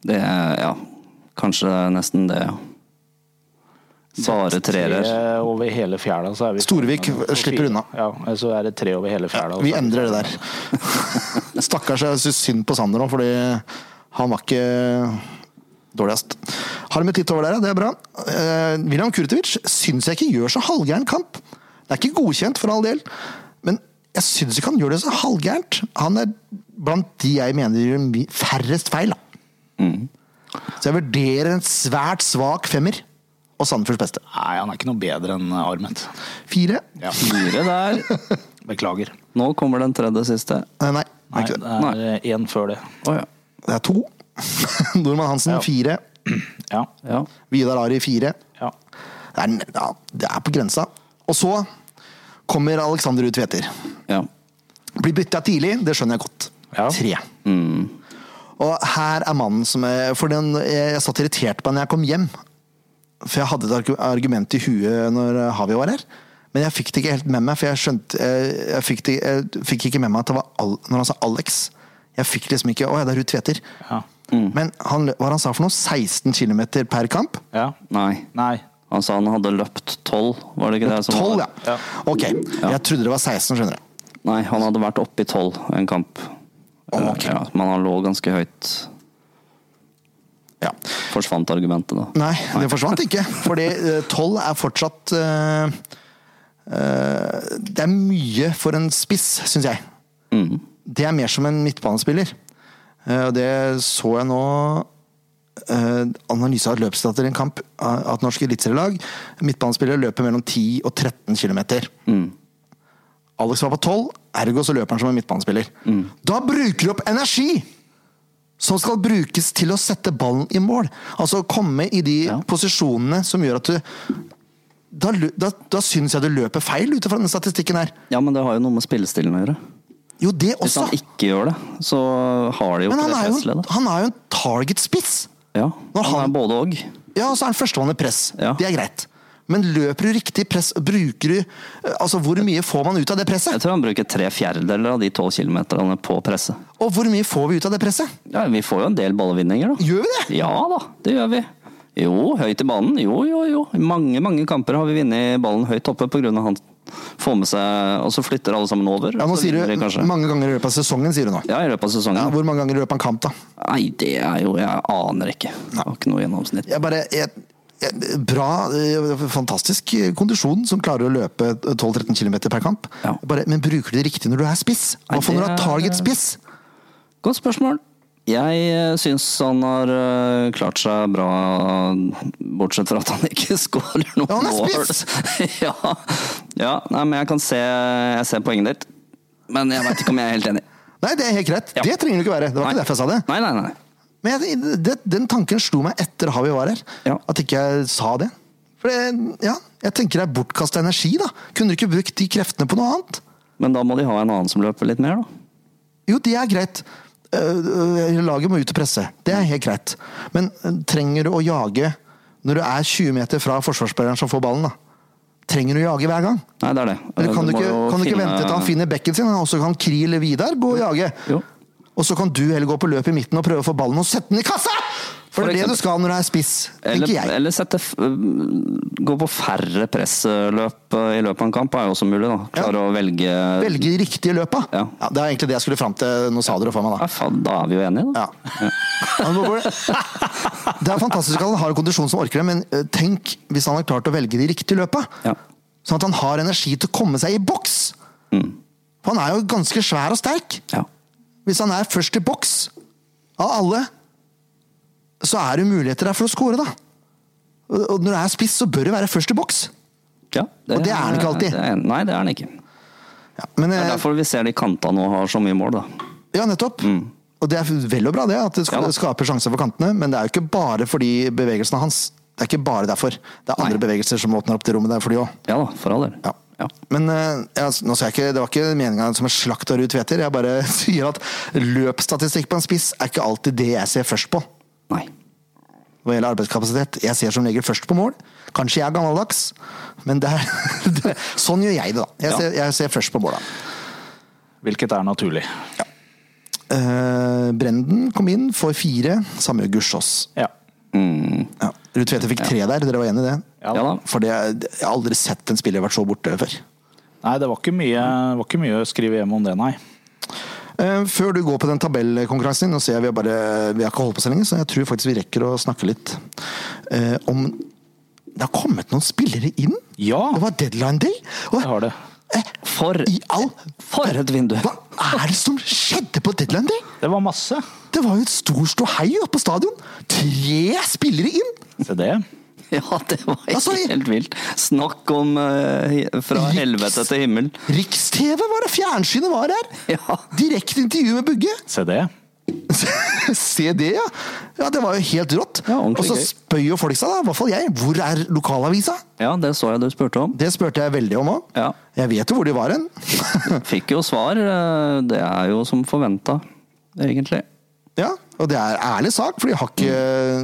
[SPEAKER 3] Det er, ja. Kanskje nesten det, ja. Bare treerer.
[SPEAKER 2] Tre over hele fjæla. Så er vi
[SPEAKER 1] Storvik
[SPEAKER 2] Så
[SPEAKER 1] slipper
[SPEAKER 2] fire.
[SPEAKER 1] unna.
[SPEAKER 2] Ja, så er det tre over hele fjæla. og
[SPEAKER 1] Vi
[SPEAKER 2] så-
[SPEAKER 1] endrer det der. Stakkars, jeg syns synd på Sander nå, fordi han var ikke dårligst. Harmet litt over der, ja. Det er bra. Eh, William Kurtovic syns jeg ikke gjør så halvgæren kamp. Det er ikke godkjent, for all del, men jeg syns ikke han gjør det så halvgærent. Han er blant de jeg mener gjør mi- færrest feil, da.
[SPEAKER 2] Mm.
[SPEAKER 1] Så jeg vurderer en svært svak femmer. Og Sandefjords beste.
[SPEAKER 2] Nei, han er ikke noe bedre enn Armet.
[SPEAKER 1] Fire?
[SPEAKER 2] Ja.
[SPEAKER 3] Fire der.
[SPEAKER 2] Beklager.
[SPEAKER 3] Nå kommer den tredje siste.
[SPEAKER 1] Eh, Nei, det er
[SPEAKER 2] Nei,
[SPEAKER 1] ikke
[SPEAKER 2] det
[SPEAKER 1] det.
[SPEAKER 2] er én før det.
[SPEAKER 3] Å ja.
[SPEAKER 1] Det er to. Nordmann Hansen
[SPEAKER 2] Ja.
[SPEAKER 1] fire.
[SPEAKER 2] Ja.
[SPEAKER 3] ja.
[SPEAKER 1] Vidar Ari fire.
[SPEAKER 2] ja.
[SPEAKER 1] Det er, ja, det er på grensa. Og så kommer Alexander ut Tveter.
[SPEAKER 3] Ja.
[SPEAKER 1] Blir bytta tidlig, det skjønner jeg godt.
[SPEAKER 2] Ja.
[SPEAKER 1] Tre. Og her er mannen som er, For den, jeg satt irritert på da jeg kom hjem. For jeg hadde et argu- argument i huet når Havi var her. Men jeg fikk det ikke helt med meg, for jeg skjønte Jeg, jeg, fikk, det, jeg fikk ikke med meg at det var Al, når han sa Alex. Jeg fikk liksom ikke Å ja, det er Ruud Tveter.
[SPEAKER 2] Ja. Mm.
[SPEAKER 1] Men han, hva var det han sa for noe? 16 km per kamp?
[SPEAKER 2] ja.
[SPEAKER 3] Nei.
[SPEAKER 2] Nei.
[SPEAKER 3] Han sa han hadde løpt tolv, var det ikke det? som var-
[SPEAKER 1] 12, ja.
[SPEAKER 2] Ja.
[SPEAKER 1] Ok. Jeg trodde det var 16, skjønner jeg.
[SPEAKER 3] Nei, han hadde vært oppe i tolv en kamp. Eller,
[SPEAKER 1] Ok.
[SPEAKER 3] Ja, men han lå ganske høyt.
[SPEAKER 1] Ja.
[SPEAKER 3] Forsvant argumentet, da.
[SPEAKER 1] Nei, det forsvant ikke. Fordi eh, 12 er fortsatt eh, eh, Det er mye for en spiss, syns jeg.
[SPEAKER 3] Mm.
[SPEAKER 1] Det er mer som en midtbanespiller. Eh, Og det så jeg nå eh, Analyse av løpsdata i en kamp av at norske eliteserielag midtbanespillere løper mellom 10 og 13 km.
[SPEAKER 3] Mm.
[SPEAKER 1] Alex var på 12, ergo så løper han som en midtbanespiller.
[SPEAKER 3] Mm.
[SPEAKER 1] Da bruker du opp energi! som skal brukes til å sette ballen i mål. Altså komme i de
[SPEAKER 3] Ja.
[SPEAKER 1] posisjonene som gjør at du Da, lø- da, da syns jeg du løper feil ut fra denne statistikken her.
[SPEAKER 3] Ja, men det har jo noe med spillestilen å gjøre.
[SPEAKER 1] Jo, det
[SPEAKER 3] Hvis
[SPEAKER 1] også.
[SPEAKER 3] han ikke gjør det, så har de jo
[SPEAKER 1] Men
[SPEAKER 3] ikke
[SPEAKER 1] han
[SPEAKER 3] det
[SPEAKER 1] er jo,
[SPEAKER 3] pressleddet.
[SPEAKER 1] han er jo en target-spiss.
[SPEAKER 3] Ja,
[SPEAKER 1] Når
[SPEAKER 3] han
[SPEAKER 1] han-
[SPEAKER 3] er både og.
[SPEAKER 1] Ja, og så er han førstemann i press.
[SPEAKER 3] Ja.
[SPEAKER 1] Det er greit. Men løper du riktig press, bruker du eh, Altså, hvor mye får man ut av det
[SPEAKER 3] Jeg
[SPEAKER 1] presset?
[SPEAKER 3] tror han bruker tre fjerdedeler av de tolv kilometerne på presset.
[SPEAKER 1] Og hvor mye får vi ut av det presset?
[SPEAKER 3] Ja, vi får jo en del ballevinninger, da.
[SPEAKER 1] Gjør vi det?
[SPEAKER 3] Ja da, det gjør vi. Jo, høyt i banen. Jo, jo, jo. I mange, mange kamper har vi vunnet ballen høyt oppe pga. han får med seg Og så flytter alle sammen over.
[SPEAKER 1] Ja, nå
[SPEAKER 3] så
[SPEAKER 1] sier
[SPEAKER 3] vinner de
[SPEAKER 1] du
[SPEAKER 3] kanskje.
[SPEAKER 1] mange ganger i løpet av sesongen, sier du nå.
[SPEAKER 3] Ja, i løpet av sesongen.
[SPEAKER 1] Ja, hvor mange ganger i løpet av en kamp, da?
[SPEAKER 3] Nei, det er jo Jeg aner ikke. Jeg har ikke noe gjennomsnitt.
[SPEAKER 1] jeg bare jeg, jeg, Bra, eh, fantastisk kondisjon som klarer å løpe 12-13 km per kamp.
[SPEAKER 3] Ja.
[SPEAKER 1] Bare, men bruker du det riktig når du er spiss?
[SPEAKER 3] Nei,
[SPEAKER 1] Hva får du av
[SPEAKER 3] det er-
[SPEAKER 1] target-spiss?
[SPEAKER 3] Godt spørsmål. Jeg eh, syns han har øh, klart seg bra, bortsett fra at han ikke skårer noen
[SPEAKER 1] Ja, han er
[SPEAKER 3] mål.
[SPEAKER 1] spiss!
[SPEAKER 3] ja, ja nei, men jeg kan se Jeg ser poenget ditt. Men jeg veit ikke om jeg er helt enig.
[SPEAKER 1] Nei, det er helt greit.
[SPEAKER 3] Ja.
[SPEAKER 1] Det trenger du ikke være. Det var
[SPEAKER 3] Nei.
[SPEAKER 1] ikke derfor jeg sa det.
[SPEAKER 3] Nei, nei, nei.
[SPEAKER 1] Men jeg, det, den tanken slo meg etter Havi var her.
[SPEAKER 3] Ja.
[SPEAKER 1] At ikke jeg sa det. For det, ja, jeg tenker det er bortkasta energi, da. Kunne du ikke brukt de kreftene på noe annet?
[SPEAKER 3] Men da må de ha en annen som løper litt mer, da.
[SPEAKER 1] Jo, det er greit. Øh, øh, Laget må ut og presse. Det er helt greit. Men øh, trenger du å jage når du er 20 meter fra forsvarsspilleren som får ballen, da? Trenger du å jage hver gang?
[SPEAKER 3] Nei, det er det.
[SPEAKER 1] Eller kan du,
[SPEAKER 3] Eh, må
[SPEAKER 1] ikke,
[SPEAKER 3] jo
[SPEAKER 1] kan du ikke
[SPEAKER 3] finne-
[SPEAKER 1] vente til han finner bekken sin, og så kan Kriel eller Vidar gå og jage?
[SPEAKER 3] Jo.
[SPEAKER 1] Og så kan du heller gå på løp i midten og prøve å få ballen og sette den i kassa! For,
[SPEAKER 3] For
[SPEAKER 1] det er det
[SPEAKER 3] eksempel.
[SPEAKER 1] du skal når du er spiss, tenker
[SPEAKER 3] Eller,
[SPEAKER 1] jeg.
[SPEAKER 3] eller sette f- Gå på færre pressløp eh, i løpet av en kamp er jo også mulig, da. Klare å velge
[SPEAKER 1] Velge riktige løpa. Ja.
[SPEAKER 3] Ja.
[SPEAKER 1] det er egentlig det jeg skulle fram til. Nå sa dere for meg, da.
[SPEAKER 3] Ja, faen, da er vi jo enige, da.
[SPEAKER 1] Ja. Ja, men hvor- Det er fantastisk at han har en kondisjon som orker det, men eh, tenk hvis han har klart å velge de riktige løpa.
[SPEAKER 3] Ja.
[SPEAKER 1] Sånn at han har energi til å komme seg i boks.
[SPEAKER 3] Mm.
[SPEAKER 1] For han er jo ganske svær og sterk.
[SPEAKER 3] Ja.
[SPEAKER 1] Hvis han er først i boks av alle, så er det jo muligheter der for å score, da. Og og når du er spiss, så bør du være først i boks.
[SPEAKER 3] Ja,
[SPEAKER 1] Og det er han ikke alltid.
[SPEAKER 3] det er- Nei, det er han ikke.
[SPEAKER 1] Ja, men,
[SPEAKER 3] Det er
[SPEAKER 1] eh,
[SPEAKER 3] derfor vi ser de kantene og har så mye mål, da.
[SPEAKER 1] ja nettopp. Og det er vel og bra, det, at det ska-
[SPEAKER 3] Mm. Ja da.
[SPEAKER 1] skaper sjanser for kantene, men det er jo ikke bare fordi bevegelsene hans. Det er ikke bare derfor. Det er andre bevegelser som åpner opp det rommet der for de òg.
[SPEAKER 3] Ja da, for all del.
[SPEAKER 1] Ja.
[SPEAKER 3] Ja.
[SPEAKER 1] Men eh, ja, altså, nå skal jeg ikke, det var ikke meninga som en slakt av Ruud Tveter. Jeg bare sier at løpsstatistikk på en spiss er ikke alltid det jeg ser først på.
[SPEAKER 3] Nei.
[SPEAKER 1] Hva gjelder arbeidskapasitet. Jeg ser som regel først på mål. Kanskje jeg er gammeldags, men det er, det, sånn gjør jeg det, da. Jeg,
[SPEAKER 3] Ja.
[SPEAKER 1] ser, jeg ser først på måla.
[SPEAKER 2] Hvilket er naturlig.
[SPEAKER 1] Eh, Brenden kom inn, får fire. Samme Gussiås.
[SPEAKER 2] Ja.
[SPEAKER 1] Ja. Ruud Tvedte fikk tre der, dere var enig i det?
[SPEAKER 2] Ja.
[SPEAKER 3] Ja da.
[SPEAKER 1] For det, jeg har aldri sett en spiller vært så borte før.
[SPEAKER 2] Nei, det var ikke mye, var ikke mye å skrive hjem om det, nei.
[SPEAKER 1] Eh, Før du går på den tabellkonkurransen din, nå ser jeg vi har, bare, vi har ikke holdt på så lenge, så jeg tror faktisk vi rekker å snakke litt eh, om Det har kommet noen spillere inn!
[SPEAKER 2] Ja.
[SPEAKER 1] Det var deadline day! Og,
[SPEAKER 2] Jeg har det.
[SPEAKER 1] Eh,
[SPEAKER 3] For,
[SPEAKER 1] I all
[SPEAKER 3] for et vindu!
[SPEAKER 1] Hva er det som skjedde på deadline day?
[SPEAKER 2] Det var masse.
[SPEAKER 1] Det var jo et stor ståhei oppe på stadion! Tre spillere inn!
[SPEAKER 2] Se det.
[SPEAKER 3] Ja, det var
[SPEAKER 1] Altså, i-
[SPEAKER 3] helt vilt. Snakk om eh, hi- fra
[SPEAKER 1] Riks-
[SPEAKER 3] helvete til himmel.
[SPEAKER 1] Riks-TV var det! Fjernsynet var her!
[SPEAKER 3] Ja.
[SPEAKER 1] Direkte intervju med Bugge!
[SPEAKER 2] Se det.
[SPEAKER 1] Se det, ja! Ja, Det var jo helt rått.
[SPEAKER 3] Ja,
[SPEAKER 1] Og
[SPEAKER 3] ordentlig
[SPEAKER 1] så
[SPEAKER 3] gøy.
[SPEAKER 1] spøy jo folk seg, da. I hvert fall jeg. Hvor er lokalavisa?
[SPEAKER 3] Ja, det så jeg du spurte om.
[SPEAKER 1] Det spurte jeg veldig om òg.
[SPEAKER 3] Ja.
[SPEAKER 1] Jeg vet jo hvor de var hen.
[SPEAKER 3] Fikk jo svar. eh, Det er jo som forventa, egentlig.
[SPEAKER 1] ja, og det er ærlig sak, for de, har ikke,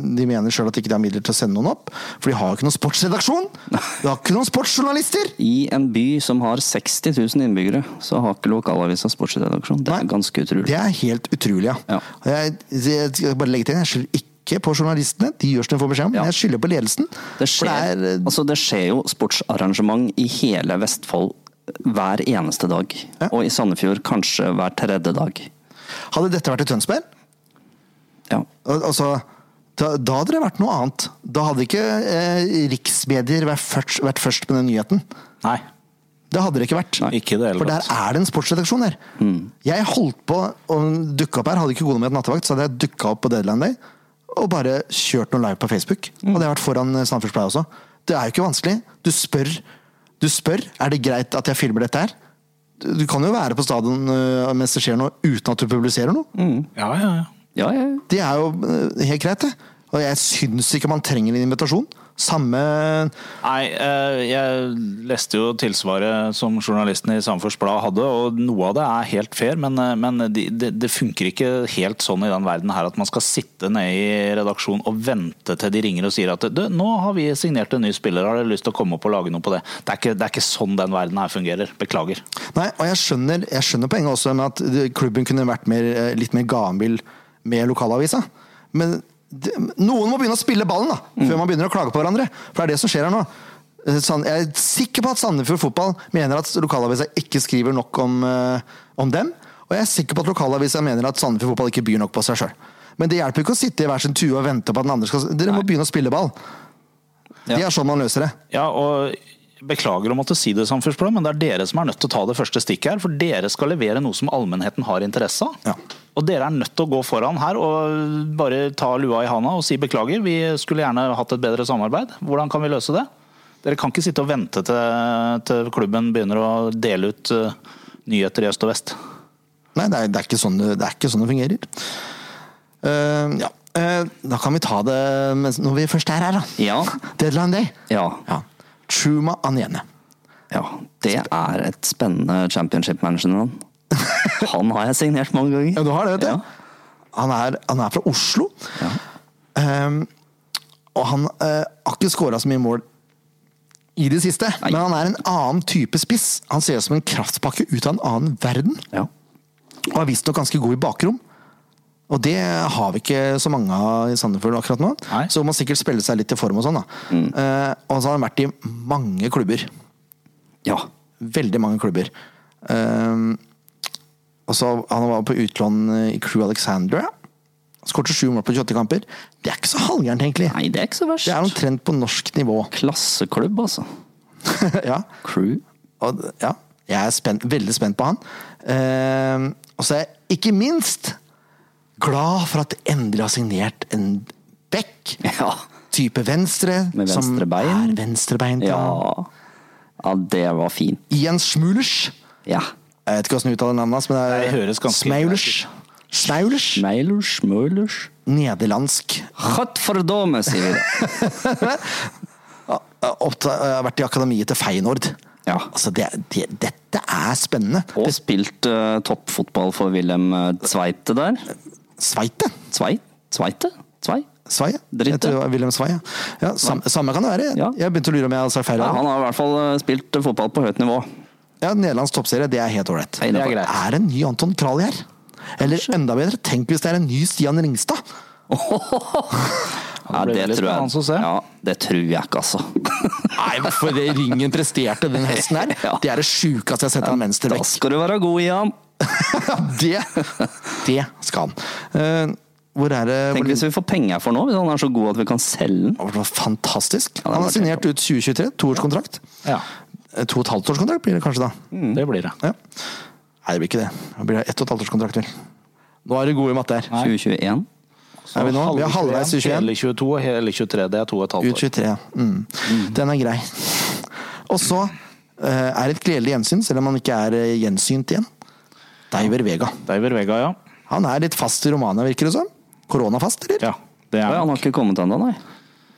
[SPEAKER 3] Mm.
[SPEAKER 1] de mener sjøl at de ikke har midler til å sende noen opp. For de har jo ikke noen sportsredaksjon! De har ikke noen sportsjournalister!
[SPEAKER 3] I en by som har 60 000 innbyggere, så har ikke lokalavisa sportsredaksjon. Det
[SPEAKER 1] Nei.
[SPEAKER 3] er ganske utrolig.
[SPEAKER 1] Det er helt utrolig, ja.
[SPEAKER 3] Ja.
[SPEAKER 1] Og Jeg, jeg skal bare legge til, jeg skylder ikke på journalistene, de gjør som de får beskjed om,
[SPEAKER 3] Ja.
[SPEAKER 1] men jeg skylder på ledelsen.
[SPEAKER 3] Det skjer,
[SPEAKER 1] For det er, eh,
[SPEAKER 3] altså det skjer jo sportsarrangement i hele Vestfold hver eneste dag.
[SPEAKER 1] Ja.
[SPEAKER 3] Og i Sandefjord kanskje hver tredje dag.
[SPEAKER 1] hadde dette vært i Tønsberg,
[SPEAKER 3] Ja.
[SPEAKER 1] al- altså, da, da hadde det vært noe annet. Da hadde ikke eh, riksmedier vært først, vært først med den nyheten.
[SPEAKER 2] Nei.
[SPEAKER 1] Det hadde det ikke vært.
[SPEAKER 2] Nei, ikke i det hele
[SPEAKER 1] For der
[SPEAKER 2] tatt. Mm.
[SPEAKER 1] er det en sportsredaksjon der. Jeg holdt på å dukke opp her, hadde ikke gode med et nattevakt, så hadde jeg dukka opp på Deadline Day og bare kjørt noe live på Facebook. Og
[SPEAKER 2] Mm.
[SPEAKER 1] det har vært foran Samfunnspleie også. Det er jo ikke vanskelig. Du spør. Du spør er det greit at jeg filmer dette her. Du du kan jo være på stadion øh, mens det skjer noe, uten at du publiserer noe.
[SPEAKER 2] Ja, ja, ja.
[SPEAKER 3] Ja, ja.
[SPEAKER 1] Det er jo øh, helt greit, det. Og jeg syns ikke man trenger en invitasjon. Samme
[SPEAKER 2] Nei, eh, jeg leste jo tilsvaret som journalisten i Samfunns Blad hadde, og noe av det er helt fair, men, eh, men det de, det funker ikke helt sånn i den verden her at man skal sitte nede i redaksjon og vente til de ringer og sier at du, nå har vi signert en ny spiller, har dere lyst til å komme opp og lage noe på det? Det er ikke, det er ikke sånn den verden her fungerer. Beklager.
[SPEAKER 1] Nei, og jeg skjønner, jeg skjønner poenget også med at det- klubben kunne vært mer, eh, litt mer gammel med lokalavisa. Men det, noen må begynne å spille ballen, da, før man begynner å klage på hverandre. For det er det som skjer her nå. Eh, Sand- Jeg er sikker på at Sandefjord Fotball mener at lokalavisa ikke skriver nok om, eh, om dem. Og jeg er sikker på at lokalavisa mener at Sandefjord Fotball ikke byr nok på seg sjøl. Men det hjelper ikke å sitte i hver sin tue og vente på at den andre skal Dere må begynne å spille ball. Det er sånn man løser det.
[SPEAKER 2] Ja, og Beklager å måtte si det, Samfunnsblad, men det er dere som er nødt til å ta det første stikket her. For dere skal levere noe som allmennheten har interesse av.
[SPEAKER 1] Ja.
[SPEAKER 2] Og dere er nødt til å gå foran her og bare ta lua i handa og si beklager. Vi skulle gjerne hatt et bedre samarbeid. Hvordan kan vi løse det? Dere kan ikke sitte og vente til, til klubben begynner å dele ut eh, nyheter i øst og vest.
[SPEAKER 1] Nei, det er, det er, ikke, sånn, det det er ikke sånn det fungerer. Eh, ja. eh, da kan vi ta det mens, når vi først er her, da.
[SPEAKER 3] Ja.
[SPEAKER 1] Deadline day.
[SPEAKER 3] Ja.
[SPEAKER 1] Ja. Chuma Anjene.
[SPEAKER 3] ja. Det er et spennende championship manager-navn. Han har jeg signert mange ganger.
[SPEAKER 1] Ja, du har det, vet du.
[SPEAKER 3] Ja.
[SPEAKER 1] Han, er, han er fra Oslo. Ehm, og han eh, har ikke skåra så mye mål i det siste,
[SPEAKER 3] Nei.
[SPEAKER 1] men han er en annen type spiss. Han ser ut som en kraftpakke ut av en annen verden,
[SPEAKER 3] Ja.
[SPEAKER 1] og er visstnok ganske god i bakrom. Og det har vi ikke så mange av i Sandefjord akkurat nå,
[SPEAKER 2] Nei.
[SPEAKER 1] så må han sikkert spille seg litt i form og sånn. da. Eh, og så har han vært i mange klubber.
[SPEAKER 3] ja.
[SPEAKER 1] Veldig mange klubber. Ehm, og så Han var på utlån i Crew Alexandria. Skårte sju mål på 28 kamper. Det er ikke så halvgærent, egentlig.
[SPEAKER 3] Nei, det er ikke så
[SPEAKER 1] Det er
[SPEAKER 3] verst.
[SPEAKER 1] omtrent på norsk nivå.
[SPEAKER 3] Klasseklubb, altså.
[SPEAKER 1] ja.
[SPEAKER 3] Crew.
[SPEAKER 1] Og, ja. Jeg er spent, veldig spent på han. Ehm, og så er jeg ikke minst glad for at det endelig har signert en back.
[SPEAKER 3] Ja.
[SPEAKER 1] Type venstre.
[SPEAKER 3] Med venstre
[SPEAKER 1] som
[SPEAKER 3] bein.
[SPEAKER 1] er venstrebeint.
[SPEAKER 3] Ja.
[SPEAKER 1] Ja.
[SPEAKER 3] ja, det var fint.
[SPEAKER 1] Jens Schmulers.
[SPEAKER 3] Ja.
[SPEAKER 1] Jeg vet ikke hvordan du uttaler navnet hans, men det
[SPEAKER 2] Nei,
[SPEAKER 1] er
[SPEAKER 2] det høres ganske
[SPEAKER 1] Smaulers. Smaulers.
[SPEAKER 3] Meilers, Møllers
[SPEAKER 1] Nederlandsk.
[SPEAKER 3] Hatt fordome, sier vi det.
[SPEAKER 1] Eh, oppta- eh, Vært i akademiet til Feyenoord.
[SPEAKER 3] Ja.
[SPEAKER 1] Altså, det, det, dette er spennende.
[SPEAKER 3] Og
[SPEAKER 1] Det
[SPEAKER 3] spilt eh, toppfotball for Wilhelm eh, Zweite der.
[SPEAKER 1] Sveite.
[SPEAKER 3] Zwei? Zweite? Zwei?
[SPEAKER 1] Svei, ja.
[SPEAKER 3] Dritte.
[SPEAKER 1] Jeg tror det var Wilhelm Svei, ja. ja sam, samme kan det være.
[SPEAKER 3] Ja.
[SPEAKER 1] Jeg begynte å lure om jeg hadde sagt feil.
[SPEAKER 3] Ja,
[SPEAKER 1] Ja,
[SPEAKER 3] han har i hvert fall eh, spilt eh, fotball på høyt nivå.
[SPEAKER 1] Nederlands toppserie, det er helt ålreit.
[SPEAKER 3] Det er
[SPEAKER 1] Er
[SPEAKER 2] greit.
[SPEAKER 1] det en ny Anton Krali her? Eller enda bedre, tenk hvis det er en ny Stian Ringstad!
[SPEAKER 3] Ja,
[SPEAKER 2] ble
[SPEAKER 3] det,
[SPEAKER 2] veldig
[SPEAKER 3] tror
[SPEAKER 2] spennende å
[SPEAKER 3] jeg.
[SPEAKER 2] se.
[SPEAKER 3] Ja, det tror jeg ikke, altså.
[SPEAKER 1] Nei, for det Ringen presterte den hesten her!
[SPEAKER 3] Ja.
[SPEAKER 1] Det er det sjukeste jeg har sett av en
[SPEAKER 3] Da
[SPEAKER 1] venstrebekk.
[SPEAKER 3] skal du være god, Jan.
[SPEAKER 1] Det, det skal han. Eh, hvor er det
[SPEAKER 3] Tenk
[SPEAKER 1] hvor-
[SPEAKER 3] hvis vi får penger for nå, hvis han er så god at vi kan selge den.
[SPEAKER 1] Det var fantastisk.
[SPEAKER 3] var
[SPEAKER 1] Han har
[SPEAKER 3] det.
[SPEAKER 1] signert ut 2023, toårskontrakt.
[SPEAKER 2] Ja,
[SPEAKER 1] Eh, To og et halvt års kontrakt blir det kanskje da.
[SPEAKER 2] det blir det.
[SPEAKER 1] Ja. Nei, det blir ikke det. Det blir ett og et halvt års kontrakt vel. Nå er du god i matte her.
[SPEAKER 2] Nei.
[SPEAKER 3] 2021.
[SPEAKER 1] Er vi nå? Vi er halvveis i 21.
[SPEAKER 2] Hele 22 og hele 23. Det er to og et halvt
[SPEAKER 1] Ut
[SPEAKER 2] år.
[SPEAKER 1] 23. ja. Mm. Den er grei. Og så eh, er det et gledelig gjensyn, selv om han ikke er eh, gjensynt igjen. Deiver Vega.
[SPEAKER 2] Deiver Vega, ja.
[SPEAKER 1] Han er litt fast i Romania, virker det som. Koronafast, eller?
[SPEAKER 2] ja. Det
[SPEAKER 3] Å
[SPEAKER 2] er
[SPEAKER 3] ja, han
[SPEAKER 2] han.
[SPEAKER 3] har ikke kommet ennå, nei.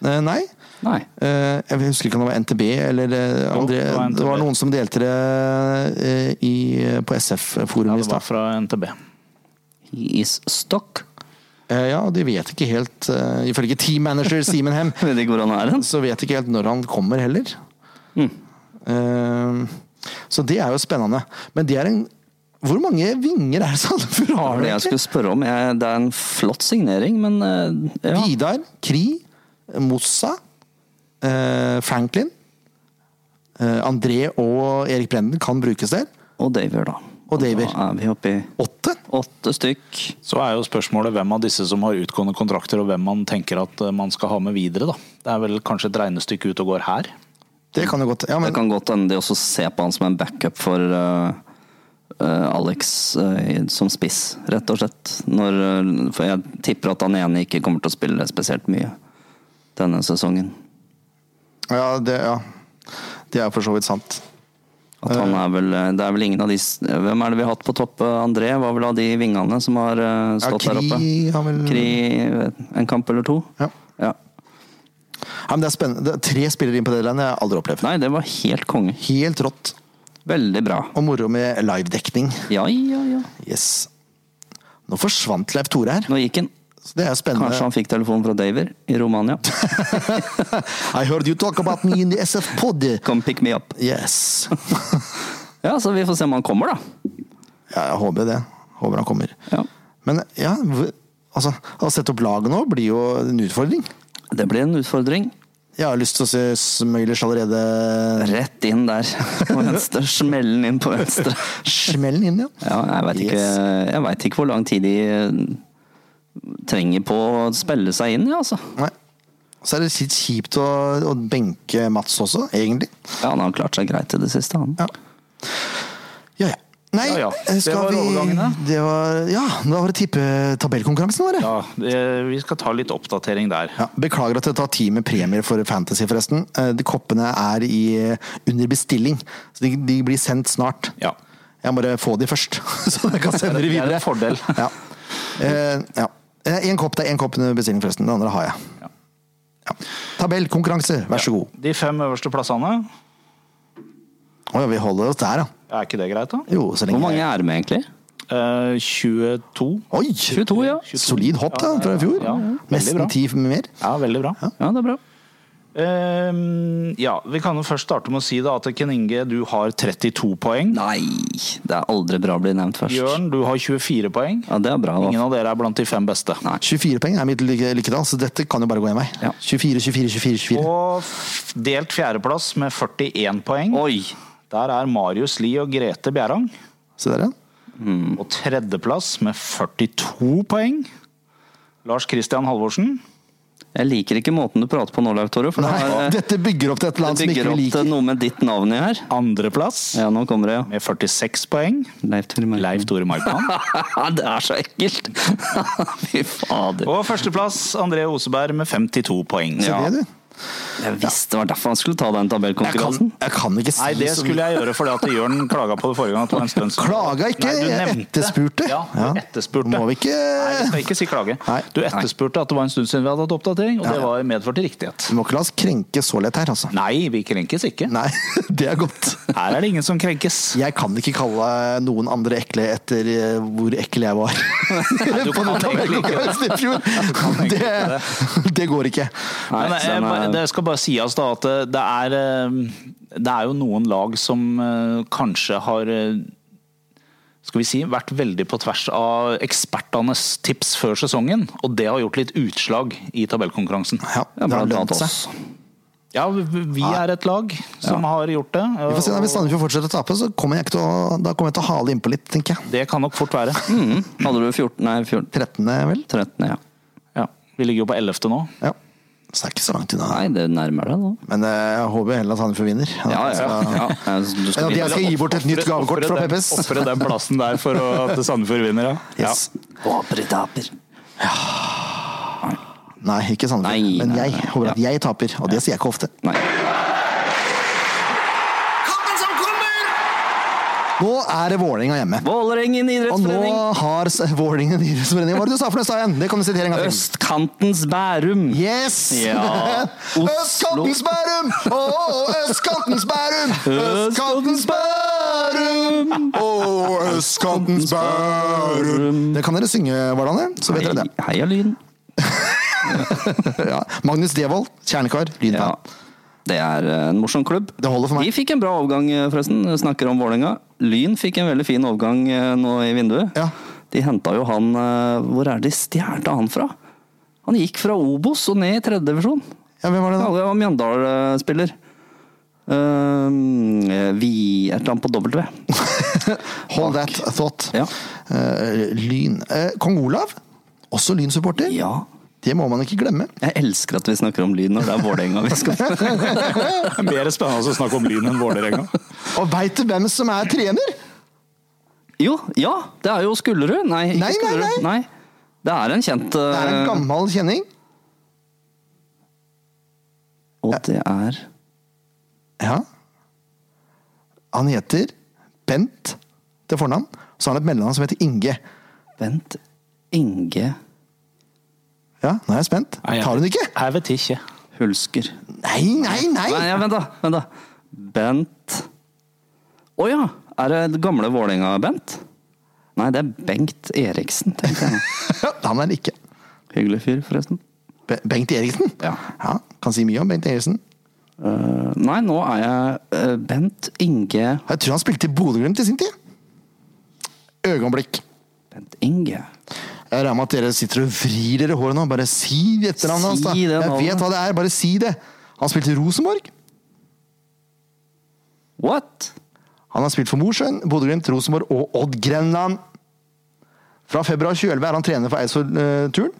[SPEAKER 1] Eh, nei.
[SPEAKER 3] Nei.
[SPEAKER 1] Eh, jeg husker ikke om det var NTB eller eh,
[SPEAKER 2] Jo,
[SPEAKER 1] André.
[SPEAKER 2] det var
[SPEAKER 1] Det var
[SPEAKER 2] NTB.
[SPEAKER 1] noen som delte det eh, i, på
[SPEAKER 2] Ja,
[SPEAKER 1] SF-forumet i
[SPEAKER 2] det var
[SPEAKER 1] stad.
[SPEAKER 2] fra NTB.
[SPEAKER 3] He is stuck.
[SPEAKER 1] Eh, ja, og de vet ikke helt eh, Ifølge teammanager Simen Hem,
[SPEAKER 3] Jeg vet ikke hvor han er hen.
[SPEAKER 1] så vet de ikke helt når han kommer heller.
[SPEAKER 3] Mm.
[SPEAKER 1] Eh, så det er jo spennende. Men det er en Hvor mange vinger er det Sandefjord
[SPEAKER 3] Det
[SPEAKER 1] har?
[SPEAKER 3] var det jeg
[SPEAKER 1] egentlig?
[SPEAKER 3] skulle spørre om. Jeg, det er en flott signering, men eh, ja.
[SPEAKER 1] Vidar, Kri, Mossa, eh, Franklin eh, André og Erik Brenden kan brukes der.
[SPEAKER 3] Og Daver, da.
[SPEAKER 1] Og Daver.
[SPEAKER 3] Da er vi oppe i
[SPEAKER 1] Åtte?
[SPEAKER 3] åtte stykk.
[SPEAKER 2] Så er jo spørsmålet hvem av disse som har utgående kontrakter, og hvem man tenker at eh, man skal ha med videre, da. Det er vel kanskje et regnestykke ut og går her.
[SPEAKER 1] Det kan jo godt. Ja, men
[SPEAKER 3] Det kan godt hende de også ser på han som en backup for eh, eh, Alex eh, som spiss, rett og slett. Når, eh, for jeg tipper at han ene ikke kommer til å spille spesielt mye denne sesongen.
[SPEAKER 1] Ja, det, ja. det er for så vidt sant.
[SPEAKER 3] At han
[SPEAKER 1] Eh.
[SPEAKER 3] er vel, eh, det er vel ingen av de s- Hvem er det vi har hatt på topp? eh, André var vel av de vingene som har eh,
[SPEAKER 1] Ja,
[SPEAKER 3] stått der oppe?
[SPEAKER 1] Kri har vel
[SPEAKER 3] Kri eh, en kamp eller to?
[SPEAKER 1] Ja.
[SPEAKER 3] Ja.
[SPEAKER 1] Ja, men det er spennende. Det er tre spillere inn på deadline jeg har aldri opplevd.
[SPEAKER 3] Nei, det var helt konge.
[SPEAKER 1] Helt rått.
[SPEAKER 3] Veldig bra.
[SPEAKER 1] Og moro med livedekning.
[SPEAKER 3] Ja, ja, ja.
[SPEAKER 1] Yes. Nå forsvant Leif Tore her.
[SPEAKER 3] Nå gikk han.
[SPEAKER 1] Så det er jo spennende.
[SPEAKER 3] Kanskje han fikk telefon fra Daver i Romania.
[SPEAKER 1] I heard you talk about me in the SF pod.
[SPEAKER 3] Come pick me up.
[SPEAKER 1] Yes.
[SPEAKER 3] Ja, så vi får se om han kommer, da.
[SPEAKER 1] Ja, jeg håper det. Håper han kommer.
[SPEAKER 3] Ja.
[SPEAKER 1] Men ja, v- altså, å sette opp laget nå blir jo en utfordring.
[SPEAKER 3] Det blir en utfordring.
[SPEAKER 1] Jeg har lyst til å se Smøylers allerede
[SPEAKER 3] Rett inn der på venstre. Smellen inn på venstre.
[SPEAKER 1] smellen inn, ja.
[SPEAKER 3] Ja, jeg veit ikke,
[SPEAKER 1] Yes.
[SPEAKER 3] jeg vet ikke hvor lang tid de eh, trenger på å spille seg inn, ja, altså.
[SPEAKER 1] Nei. Så er det litt kjipt å, å benke Mats også, egentlig.
[SPEAKER 3] Ja, han har klart seg greit i det siste, han.
[SPEAKER 1] Ja. Ja, ja. Nei,
[SPEAKER 2] Ja, ja.
[SPEAKER 1] eh,
[SPEAKER 2] Det
[SPEAKER 1] skal
[SPEAKER 2] var
[SPEAKER 1] vi
[SPEAKER 2] overgangene.
[SPEAKER 1] Det var, ja, da var det tippetabellkonkurransen vår. Ja.
[SPEAKER 2] Ja, det- vi skal ta litt oppdatering der.
[SPEAKER 1] Ja, beklager at det tar tid med premier for Fantasy, forresten. Eh, De koppene er i, eh, under bestilling, så de, de blir sendt snart.
[SPEAKER 2] Ja.
[SPEAKER 1] Jeg må bare få de først, så jeg kan sende de
[SPEAKER 2] Det er
[SPEAKER 1] videre.
[SPEAKER 2] en fordel.
[SPEAKER 1] Ja. Eh, ja. Én kopp, det er én kopp under bestilling, forresten. Den andre har jeg.
[SPEAKER 2] Ja.
[SPEAKER 1] Ja. Tabell, konkurranse, vær så god.
[SPEAKER 2] De fem øverste plassene,
[SPEAKER 1] Å ja, vi holder oss der, ja.
[SPEAKER 2] er ikke det greit, da?
[SPEAKER 1] Jo, så lenge
[SPEAKER 3] Hvor mange er det med, egentlig?
[SPEAKER 2] Eh, 22.
[SPEAKER 1] Oi!
[SPEAKER 3] 22, ja.
[SPEAKER 1] Solid hopp da, fra i fjor.
[SPEAKER 2] Ja, ja. Veldig
[SPEAKER 1] Nesten
[SPEAKER 2] bra.
[SPEAKER 1] ti mer.
[SPEAKER 2] Ja, veldig bra.
[SPEAKER 3] Ja, det er bra.
[SPEAKER 2] Eh, ja, vi kan jo først starte med å si da at Ken Inge, du har 32 poeng.
[SPEAKER 3] Nei, det er aldri bra å bli nevnt først.
[SPEAKER 2] Jørn, du har 24 poeng.
[SPEAKER 3] Ja, det er bra.
[SPEAKER 2] Ingen
[SPEAKER 3] Da.
[SPEAKER 2] av dere er blant de fem beste.
[SPEAKER 3] Nei.
[SPEAKER 1] 24 poeng er mitt lykke- lykketall, så dette kan jo bare gå én vei.
[SPEAKER 3] Ja.
[SPEAKER 1] 24, 24, 24. 24.
[SPEAKER 2] Og f- delt fjerdeplass med 41 poeng.
[SPEAKER 3] Oi!
[SPEAKER 2] Der er Marius Lie og Grete Bjerang.
[SPEAKER 1] Se der, ja. Mm.
[SPEAKER 2] Og tredjeplass med 42 poeng. Lars Christian Halvorsen.
[SPEAKER 3] Jeg liker ikke måten du prater på nå, Leif Tore. For det,
[SPEAKER 1] Nei,
[SPEAKER 3] er,
[SPEAKER 1] dette bygger opp til et eller
[SPEAKER 3] det
[SPEAKER 1] annet som ikke
[SPEAKER 3] bygger
[SPEAKER 1] vi
[SPEAKER 3] opp
[SPEAKER 1] liker.
[SPEAKER 3] til noe med ditt navn i her.
[SPEAKER 2] Andreplass
[SPEAKER 3] Ja, nå kommer det, ja.
[SPEAKER 2] med 46 poeng.
[SPEAKER 3] Leif Tore Merken.
[SPEAKER 2] Leif Tore Markmann.
[SPEAKER 3] det er så ekkelt! Fy fader.
[SPEAKER 2] Og førsteplass André Oseberg med 52 poeng.
[SPEAKER 3] Ja.
[SPEAKER 1] Det, du.
[SPEAKER 3] Jeg visste det var derfor han skulle ta den
[SPEAKER 1] Jeg, kan,
[SPEAKER 3] tabellkonkurransen.
[SPEAKER 1] jeg kan ikke si
[SPEAKER 2] Nei, det
[SPEAKER 1] så mye.
[SPEAKER 2] skulle jeg gjøre fordi at Jørn klaga på det forrige gang. At det var en stund siden.
[SPEAKER 1] Klaga ikke,
[SPEAKER 2] Nei, du
[SPEAKER 1] jeg
[SPEAKER 2] nevnte.
[SPEAKER 1] etterspurte.
[SPEAKER 2] Ja, du
[SPEAKER 1] Ja.
[SPEAKER 2] etterspurte.
[SPEAKER 1] Må vi ikke-
[SPEAKER 2] Nei, vi skal ikke si klage.
[SPEAKER 1] Nei.
[SPEAKER 2] Du etterspurte at det var en stund siden vi hadde hatt oppdatering, og det var medført riktighet.
[SPEAKER 1] Vi må ikke la oss krenke så lett her, altså.
[SPEAKER 2] Nei, vi krenkes ikke.
[SPEAKER 1] Nei, det er godt.
[SPEAKER 2] Her er det ingen som krenkes.
[SPEAKER 1] Jeg kan ikke kalle noen andre ekle etter eh, hvor ekkel jeg var.
[SPEAKER 2] Nei, du
[SPEAKER 1] På
[SPEAKER 2] kan
[SPEAKER 1] den
[SPEAKER 2] egentlig ikke
[SPEAKER 1] tabellkonkurransen i fjor.
[SPEAKER 2] egentlig
[SPEAKER 1] Det, det går ikke.
[SPEAKER 3] Nei,
[SPEAKER 2] Men
[SPEAKER 3] så
[SPEAKER 2] jeg,
[SPEAKER 3] den
[SPEAKER 2] bare-
[SPEAKER 3] er-
[SPEAKER 2] det skal bare sies da at eh, det er, eh, det er jo noen lag som eh, kanskje har eh, skal vi si, vært veldig på tvers av ekspertenes tips før sesongen. Og det har gjort litt utslag i tabellkonkurransen.
[SPEAKER 1] Ja,
[SPEAKER 3] Ja,
[SPEAKER 1] det har
[SPEAKER 3] blant
[SPEAKER 1] lønt
[SPEAKER 3] annet
[SPEAKER 1] seg.
[SPEAKER 3] oss.
[SPEAKER 2] Ja, vi vi er et lag som har gjort det.
[SPEAKER 1] Vi får se, da,
[SPEAKER 2] og
[SPEAKER 1] Hvis Sandefjord fortsetter å tape, så kommer jeg ikke til å, da kommer jeg til å hale innpå litt, tenker jeg.
[SPEAKER 2] Det kan nok fort være.
[SPEAKER 1] Mm.
[SPEAKER 3] Mhm. Hadde du 14, nei, 14,
[SPEAKER 1] 13. vel?
[SPEAKER 3] 13, ja.
[SPEAKER 2] Ja. Vi ligger jo på 11. nå.
[SPEAKER 1] Ja. Så det er ikke så langt unna.
[SPEAKER 3] Nei, det nærmer deg nå.
[SPEAKER 1] Men eh, jeg håper jo heller at Sandefjord vinner.
[SPEAKER 3] Ja, ja.
[SPEAKER 1] Så-
[SPEAKER 3] ja. ja. Du
[SPEAKER 1] Men
[SPEAKER 3] skal
[SPEAKER 1] at jeg skal gi bort et nytt gavekort fra
[SPEAKER 2] den-
[SPEAKER 1] PPS.
[SPEAKER 2] Ofre den plassen der for å, at Sandefjord vinner, ja.
[SPEAKER 1] Yes.
[SPEAKER 3] Håper det taper.
[SPEAKER 1] Nei, ikke Sandefjord.
[SPEAKER 3] Nei,
[SPEAKER 1] Men
[SPEAKER 3] nei,
[SPEAKER 1] jeg
[SPEAKER 3] nei.
[SPEAKER 1] håper at jeg taper, og det sier jeg ikke ofte.
[SPEAKER 3] Nei.
[SPEAKER 5] Kampen som kommer!
[SPEAKER 1] Nå er det Vålerenga hjemme. Og
[SPEAKER 3] Vålerengen
[SPEAKER 1] nå
[SPEAKER 3] idrettsforening.
[SPEAKER 1] har s- Vålerenga nyhetsforening Hva var det du sa for noe, Stein? Det kan du sitere en gang til.
[SPEAKER 3] Østkantens Bærum.
[SPEAKER 1] Yes!
[SPEAKER 3] Ja. Oslo.
[SPEAKER 1] Østkantens Bærum! Å, Østkantens Bærum! Østkantens Bærum! Å, Østkantens Bærum! Det kan dere synge, Vardane. Så vet dere det.
[SPEAKER 3] Hei- Heia Lyn.
[SPEAKER 1] Ja. Magnus Devold, kjernekar,
[SPEAKER 3] Ja.
[SPEAKER 1] lynfan.
[SPEAKER 3] Det er eh, en morsom klubb.
[SPEAKER 1] Det holder for meg.
[SPEAKER 3] De fikk en bra overgang, eh, forresten. Snakker om Vålerenga. Lyn fikk en veldig fin overgang eh, nå i vinduet.
[SPEAKER 1] Ja.
[SPEAKER 3] De henta jo han eh, Hvor er det de stjal han fra? Han gikk fra Obos og ned i tredjedivisjon.
[SPEAKER 1] Ja, hvem var det
[SPEAKER 3] Ja,
[SPEAKER 1] da?
[SPEAKER 3] det var Mjøndal-spiller. Um, eh, vi Et eller annet på W.
[SPEAKER 1] Hold that thought.
[SPEAKER 3] Ja.
[SPEAKER 1] Eh, lyn. Eh, Kong Olav, også Lyn-supporter.
[SPEAKER 3] ja.
[SPEAKER 1] Det må man ikke glemme.
[SPEAKER 3] Jeg elsker at vi snakker om Lyn når det er Vålerenga vi skal
[SPEAKER 2] Mer spennende å snakke om Lyn enn Vålerenga.
[SPEAKER 1] Og veit du hvem som er trener?
[SPEAKER 3] Jo, ja! Det er jo Skullerud. Nei, ikke
[SPEAKER 1] Nei, nei,
[SPEAKER 3] Skullerud. Nei. Det er en kjent eh,
[SPEAKER 1] Det er en gammel kjenning.
[SPEAKER 3] Og det er
[SPEAKER 1] Ja. Han heter Bent til fornavn. Så har han et mellomnavn som heter Inge.
[SPEAKER 3] Bent Inge
[SPEAKER 1] Ja, nå er jeg spent. Tar hun ikke?
[SPEAKER 2] Jeg vet ikke.
[SPEAKER 3] Hulsker.
[SPEAKER 1] Nei, nei, nei!
[SPEAKER 3] Nei, ja, vent, da! Vent da. Bent Å ja! Er det det gamle Vålerenga-Bent? Nei, det er Bengt Eriksen, tenkte jeg.
[SPEAKER 1] Han er det ikke.
[SPEAKER 3] Hyggelig fyr, forresten.
[SPEAKER 1] Be- Bengt Eriksen?
[SPEAKER 3] Ja.
[SPEAKER 1] Kan si mye om Bengt Eriksen.
[SPEAKER 3] Eh, nei, nå er jeg eh, Bent Inge
[SPEAKER 1] Jeg tror han spilte i Bodø-Glimt i sin tid. Øyeblikk.
[SPEAKER 3] Bent Inge.
[SPEAKER 1] Jeg regner med at dere sitter og vrir dere i håret nå. Bare si etternavnet hans, da.
[SPEAKER 3] Si det
[SPEAKER 1] Jeg
[SPEAKER 3] navnet.
[SPEAKER 1] vet hva det er, bare si det. Han spilte i Rosenborg.
[SPEAKER 3] What?!
[SPEAKER 1] Han har spilt for Mosjøen, Bodø-Glimt, Rosenborg og Odd Grenland. Fra februar 2011 er han trener for Eidsvoll-turen.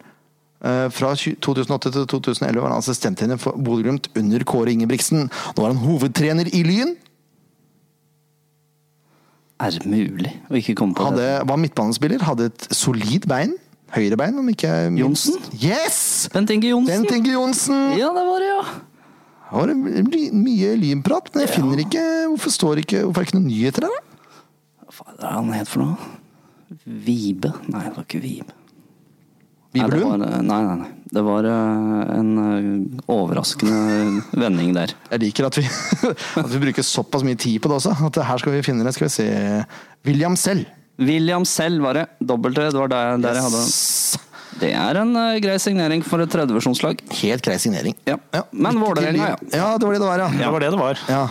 [SPEAKER 1] Eh, Fra 20- 2008 til 2011 var han assistenttrener for Bodø-Glimt under Kåre Ingebrigtsen. Nå er han hovedtrener i Lyn.
[SPEAKER 3] Er det mulig å ikke komme på
[SPEAKER 1] Hadde,
[SPEAKER 3] det?
[SPEAKER 1] var midtbanespiller, hadde et solid bein. Høyre bein, om ikke jeg minst. Yes!
[SPEAKER 3] Bent Inge Johnsen!
[SPEAKER 1] Bent Inge Johnsen!
[SPEAKER 3] Ja, det var det, ja!
[SPEAKER 1] Det var ly- mye lynprat, men jeg finner ikke Hvorfor står ikke, hvorfor er det ikke noen nyheter der? da?
[SPEAKER 3] Hva faen er han het for noe? Vibe? Nei, det var ikke Vibe.
[SPEAKER 1] Bibelhund?
[SPEAKER 3] Nei, det var, eh, nei, nei, nei. Det var eh, en eh, overraskende vending der.
[SPEAKER 1] Jeg liker at vi, at vi bruker såpass mye tid på det også. At det her skal vi finne det. Skal vi se William selv.
[SPEAKER 3] William selv var det. Dobbelt det. Det var der, der jeg hadde
[SPEAKER 1] S-
[SPEAKER 3] Det er en eh, grei signering for et tredjevisjonslag.
[SPEAKER 1] Helt grei signering.
[SPEAKER 3] Ja.
[SPEAKER 1] lykke
[SPEAKER 3] Men
[SPEAKER 1] til.
[SPEAKER 3] Vålerenga, ja.
[SPEAKER 1] Ja, det var det det var,
[SPEAKER 2] Det
[SPEAKER 1] ja.
[SPEAKER 2] var det det var.
[SPEAKER 1] ja.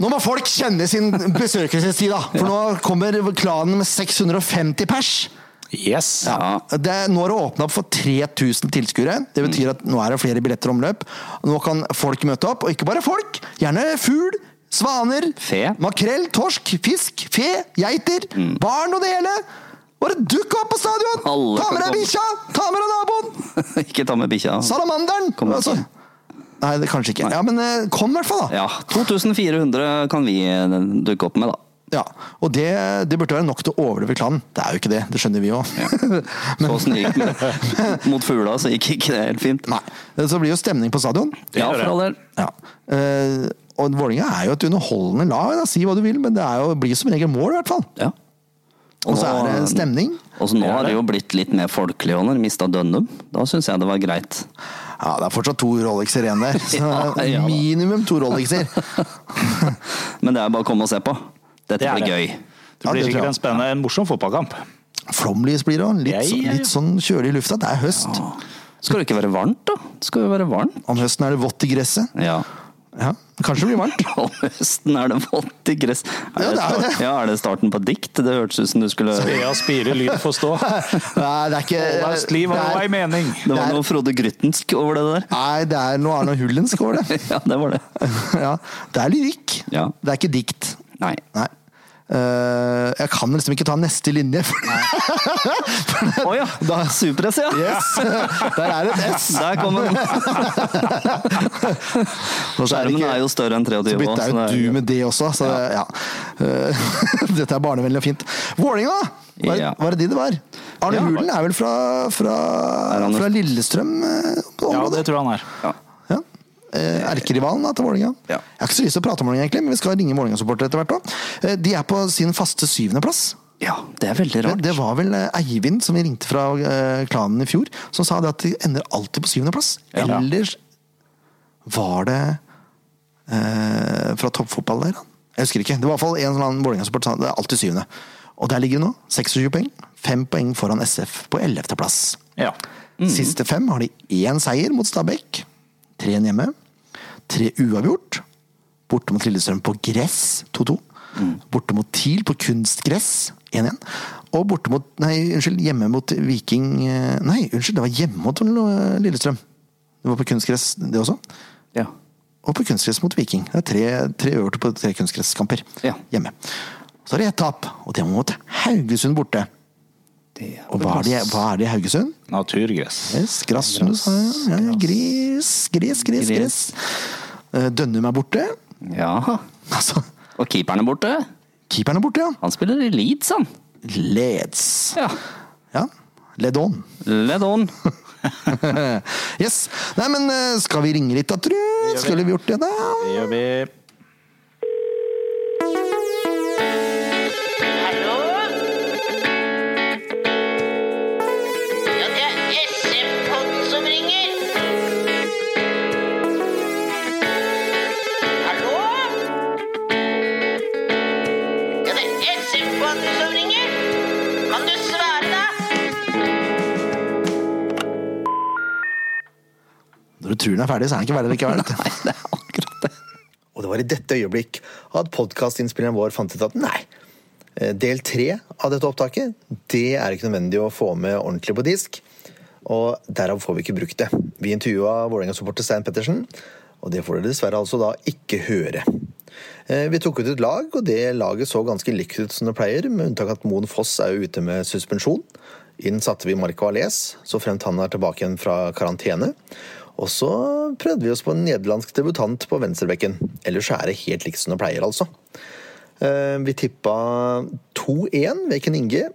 [SPEAKER 1] Nå må folk kjenne sin besøkelsestid, da! For nå kommer klanen med 650 pers.
[SPEAKER 2] Yes.
[SPEAKER 3] Ja.
[SPEAKER 1] Det, er- nå er det åpna opp for 3000 tilskuere. Det
[SPEAKER 3] Mm.
[SPEAKER 1] betyr at nå er det flere billetter i omløp. Nå kan folk møte opp, og ikke bare folk. Gjerne fugl, svaner,
[SPEAKER 3] Fe. Mm.
[SPEAKER 1] makrell, torsk, fisk, fe, geiter, barn og det hele. Bare dukk opp på stadion!
[SPEAKER 3] Alle
[SPEAKER 1] ta med
[SPEAKER 3] kan
[SPEAKER 1] deg
[SPEAKER 3] komme.
[SPEAKER 1] bikkja! Ta med deg naboen!
[SPEAKER 3] Ikke ta med bikkja.
[SPEAKER 1] Sånn. Salamanderen!
[SPEAKER 3] Kommer
[SPEAKER 1] Altså.
[SPEAKER 3] ikke.
[SPEAKER 1] Nei, det kanskje ikke. Ja, Men eh, kom i hvert fall, da.
[SPEAKER 3] Ja, 2400 kan vi eh, dukke opp med, da.
[SPEAKER 1] Ja, og det, det burde være nok til å overleve klanen. Det er jo ikke det, det skjønner vi òg.
[SPEAKER 3] Så åssen det gikk med mot fugla, så gikk ikke det helt fint.
[SPEAKER 1] Nei. Så blir det jo stemning på stadion.
[SPEAKER 3] Ja,
[SPEAKER 2] gjør
[SPEAKER 3] for
[SPEAKER 2] det.
[SPEAKER 3] all del.
[SPEAKER 1] Ja. Eh, og Vålinga er jo et underholdende lag, da, si hva du vil, men det er jo, blir som regel mål, i hvert fall.
[SPEAKER 3] Ja.
[SPEAKER 1] Og så er det stemning.
[SPEAKER 3] Og så nå
[SPEAKER 2] Det er
[SPEAKER 3] har det
[SPEAKER 2] det.
[SPEAKER 3] jo blitt litt mer folkelig òg, når mista Dønnum. Da syns jeg det var greit.
[SPEAKER 1] Ja, det er fortsatt to Rolexer igjen der. Så
[SPEAKER 3] Ja, ja da.
[SPEAKER 1] minimum to Rolexer.
[SPEAKER 3] Men det er bare å komme og se på. Dette
[SPEAKER 2] Det er
[SPEAKER 3] blir
[SPEAKER 2] det.
[SPEAKER 3] gøy.
[SPEAKER 1] Ja,
[SPEAKER 2] Det blir
[SPEAKER 1] det tror jeg.
[SPEAKER 2] sikkert en spennende, en morsom fotballkamp.
[SPEAKER 1] Flomlys blir det òg. Litt,
[SPEAKER 2] Ja,
[SPEAKER 1] så-
[SPEAKER 2] ja, ja.
[SPEAKER 1] litt sånn kjølig i lufta. Det er høst.
[SPEAKER 3] Skal det ikke være varmt, da? Skal det være varmt?
[SPEAKER 1] Om høsten er det vått i gresset.
[SPEAKER 3] Ja.
[SPEAKER 1] Ja, kanskje det blir varmt.
[SPEAKER 3] Om høsten er det vått i gress. Er
[SPEAKER 1] Ja, det er det.
[SPEAKER 3] start- Ja, er det starten på et dikt? Det hørtes ut som du skulle Det
[SPEAKER 2] Svea spire, lyd får stå.
[SPEAKER 1] Nei, det er ikke
[SPEAKER 2] Olaust liv har noe
[SPEAKER 1] det
[SPEAKER 2] ei
[SPEAKER 1] er,
[SPEAKER 2] mening.
[SPEAKER 1] det
[SPEAKER 3] var
[SPEAKER 1] er-
[SPEAKER 3] noe Frode Gryttensk over det der.
[SPEAKER 1] Nei, det er noe Arne Hullensk over det.
[SPEAKER 3] Ja, det var det.
[SPEAKER 1] Ja, det er lyrikk.
[SPEAKER 3] Ja.
[SPEAKER 1] Det er ikke dikt.
[SPEAKER 3] Nei.
[SPEAKER 1] Nei. Eh, jeg kan liksom ikke ta neste linje. For
[SPEAKER 3] Å ja! Da Superess, ja!
[SPEAKER 1] Yes! Der er det et S.
[SPEAKER 3] Der kom den!
[SPEAKER 1] Og så er det
[SPEAKER 3] Skjermen
[SPEAKER 1] ikke-
[SPEAKER 3] er jo større enn 23
[SPEAKER 1] så
[SPEAKER 3] år,
[SPEAKER 1] bytter jeg
[SPEAKER 3] så
[SPEAKER 1] ut
[SPEAKER 3] det er-
[SPEAKER 1] du med det også, så det, ja. Eh, Dette er barnevennlig og fint. Vålinga, da! Var,
[SPEAKER 3] Ja.
[SPEAKER 1] var det de det var? Arne
[SPEAKER 3] Ja.
[SPEAKER 1] Hulen er vel fra, fra,
[SPEAKER 3] Er han-
[SPEAKER 1] fra Lillestrøm? eh,
[SPEAKER 2] Ja,
[SPEAKER 1] området?
[SPEAKER 2] det tror jeg han er.
[SPEAKER 3] Ja.
[SPEAKER 1] Ja. Eh, Erkerivalen da, til Vålinga.
[SPEAKER 3] Ja.
[SPEAKER 1] Jeg har ikke så lyst til å prate om Vålinga, egentlig, men vi skal ringe Vålinga-supportere etter hvert òg. De er på sin faste syvendeplass.
[SPEAKER 3] ja, det er veldig
[SPEAKER 1] Det,
[SPEAKER 3] rart.
[SPEAKER 1] det var vel eh, Eivind som vi ringte fra eh, klanen i fjor, som sa det at de ender alltid på syvendeplass.
[SPEAKER 3] Ja.
[SPEAKER 1] Ellers var det eh, fra toppfotball der, da. Jeg husker ikke. Det var i hvert fall en eller annen Vålerenga-support som sa det er alltid syvende. Og der ligger det nå. 26 poeng. Fem poeng foran SF på 11. plass.
[SPEAKER 2] Ja.
[SPEAKER 1] Siste fem har de én seier mot Stabæk. Tre igjen hjemme. Tre uavgjort. Borte mot Lillestrøm på gress, 2-2. Borte mot TIL på kunstgress, 1-1. Og borte mot Nei, unnskyld, hjemme mot Viking eh, Nei, unnskyld, det var hjemme mot eh, Lillestrøm. Det var på kunstgress, det også.
[SPEAKER 3] Ja.
[SPEAKER 1] Og på kunstgress mot Viking. Det er tre, tre øvrige på tre kunstgresskamper
[SPEAKER 3] Ja.
[SPEAKER 1] hjemme. Så er det ett tap, og det var mot Haugesund borte.
[SPEAKER 3] Det er
[SPEAKER 1] Og hva er det, hva er det i Haugesund?
[SPEAKER 2] Naturgress.
[SPEAKER 1] Yes, grass, som du sa. Ja, ja, gris, gris, gris, gris.
[SPEAKER 3] Gris.
[SPEAKER 1] Eh, Dønnum er borte.
[SPEAKER 3] Ja.
[SPEAKER 1] Altså,
[SPEAKER 3] Og keeperen er borte.
[SPEAKER 1] keeperen er borte, ja.
[SPEAKER 3] Han spiller i Leeds, han.
[SPEAKER 1] Leds.
[SPEAKER 3] Ja.
[SPEAKER 1] Ja. Led on.
[SPEAKER 3] Led on.
[SPEAKER 1] Eh, yes. Nei, men eh, skal vi ringe litt, da, tru? Skulle vi gjort det, da?
[SPEAKER 2] Det gjør vi.
[SPEAKER 6] Hallo? Ja, det er SM-podden som ringer. Hallo? Ja, det er SM-podden som ringer. Kan du svare, da?
[SPEAKER 1] Når du tror den er ferdig, så er den ikke ferdig likevel. vet du.
[SPEAKER 3] Det er akkurat det.
[SPEAKER 1] Og det var i dette øyeblikk at podkastinnspilleren vår fant ut at nei, eh, del tre av dette opptaket, det er ikke nødvendig å få med ordentlig på disk. Og derav får vi ikke brukt det. Vi intervjua Vålerenga-supporter Stein Pettersen, og det får dere dessverre altså da ikke høre. Eh, Vi tok ut et lag, og det laget så ganske likt ut som det pleier, med unntak at Moen Foss er jo ute med suspensjon. Inn satte vi Marco Alés, så fremt han er tilbake igjen fra karantene. Og så prøvde vi oss på en nederlandsk debutant på venstrebekken. Ellers er det helt likt som det pleier, altså. Eh, Vi tippa 2-1 ved Ken Inge,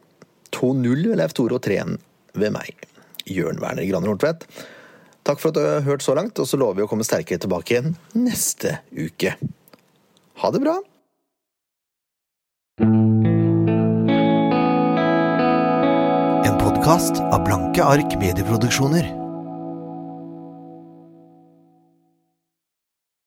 [SPEAKER 1] 2-0 ved Leif Tore og 3-1 ved meg. Jørn Werner Graner Hortvedt. Takk for at du har hørt så langt, og så lover vi å komme sterkere tilbake igjen neste uke. Ha det bra! En podkast podkast av Blanke ark medieproduksjoner.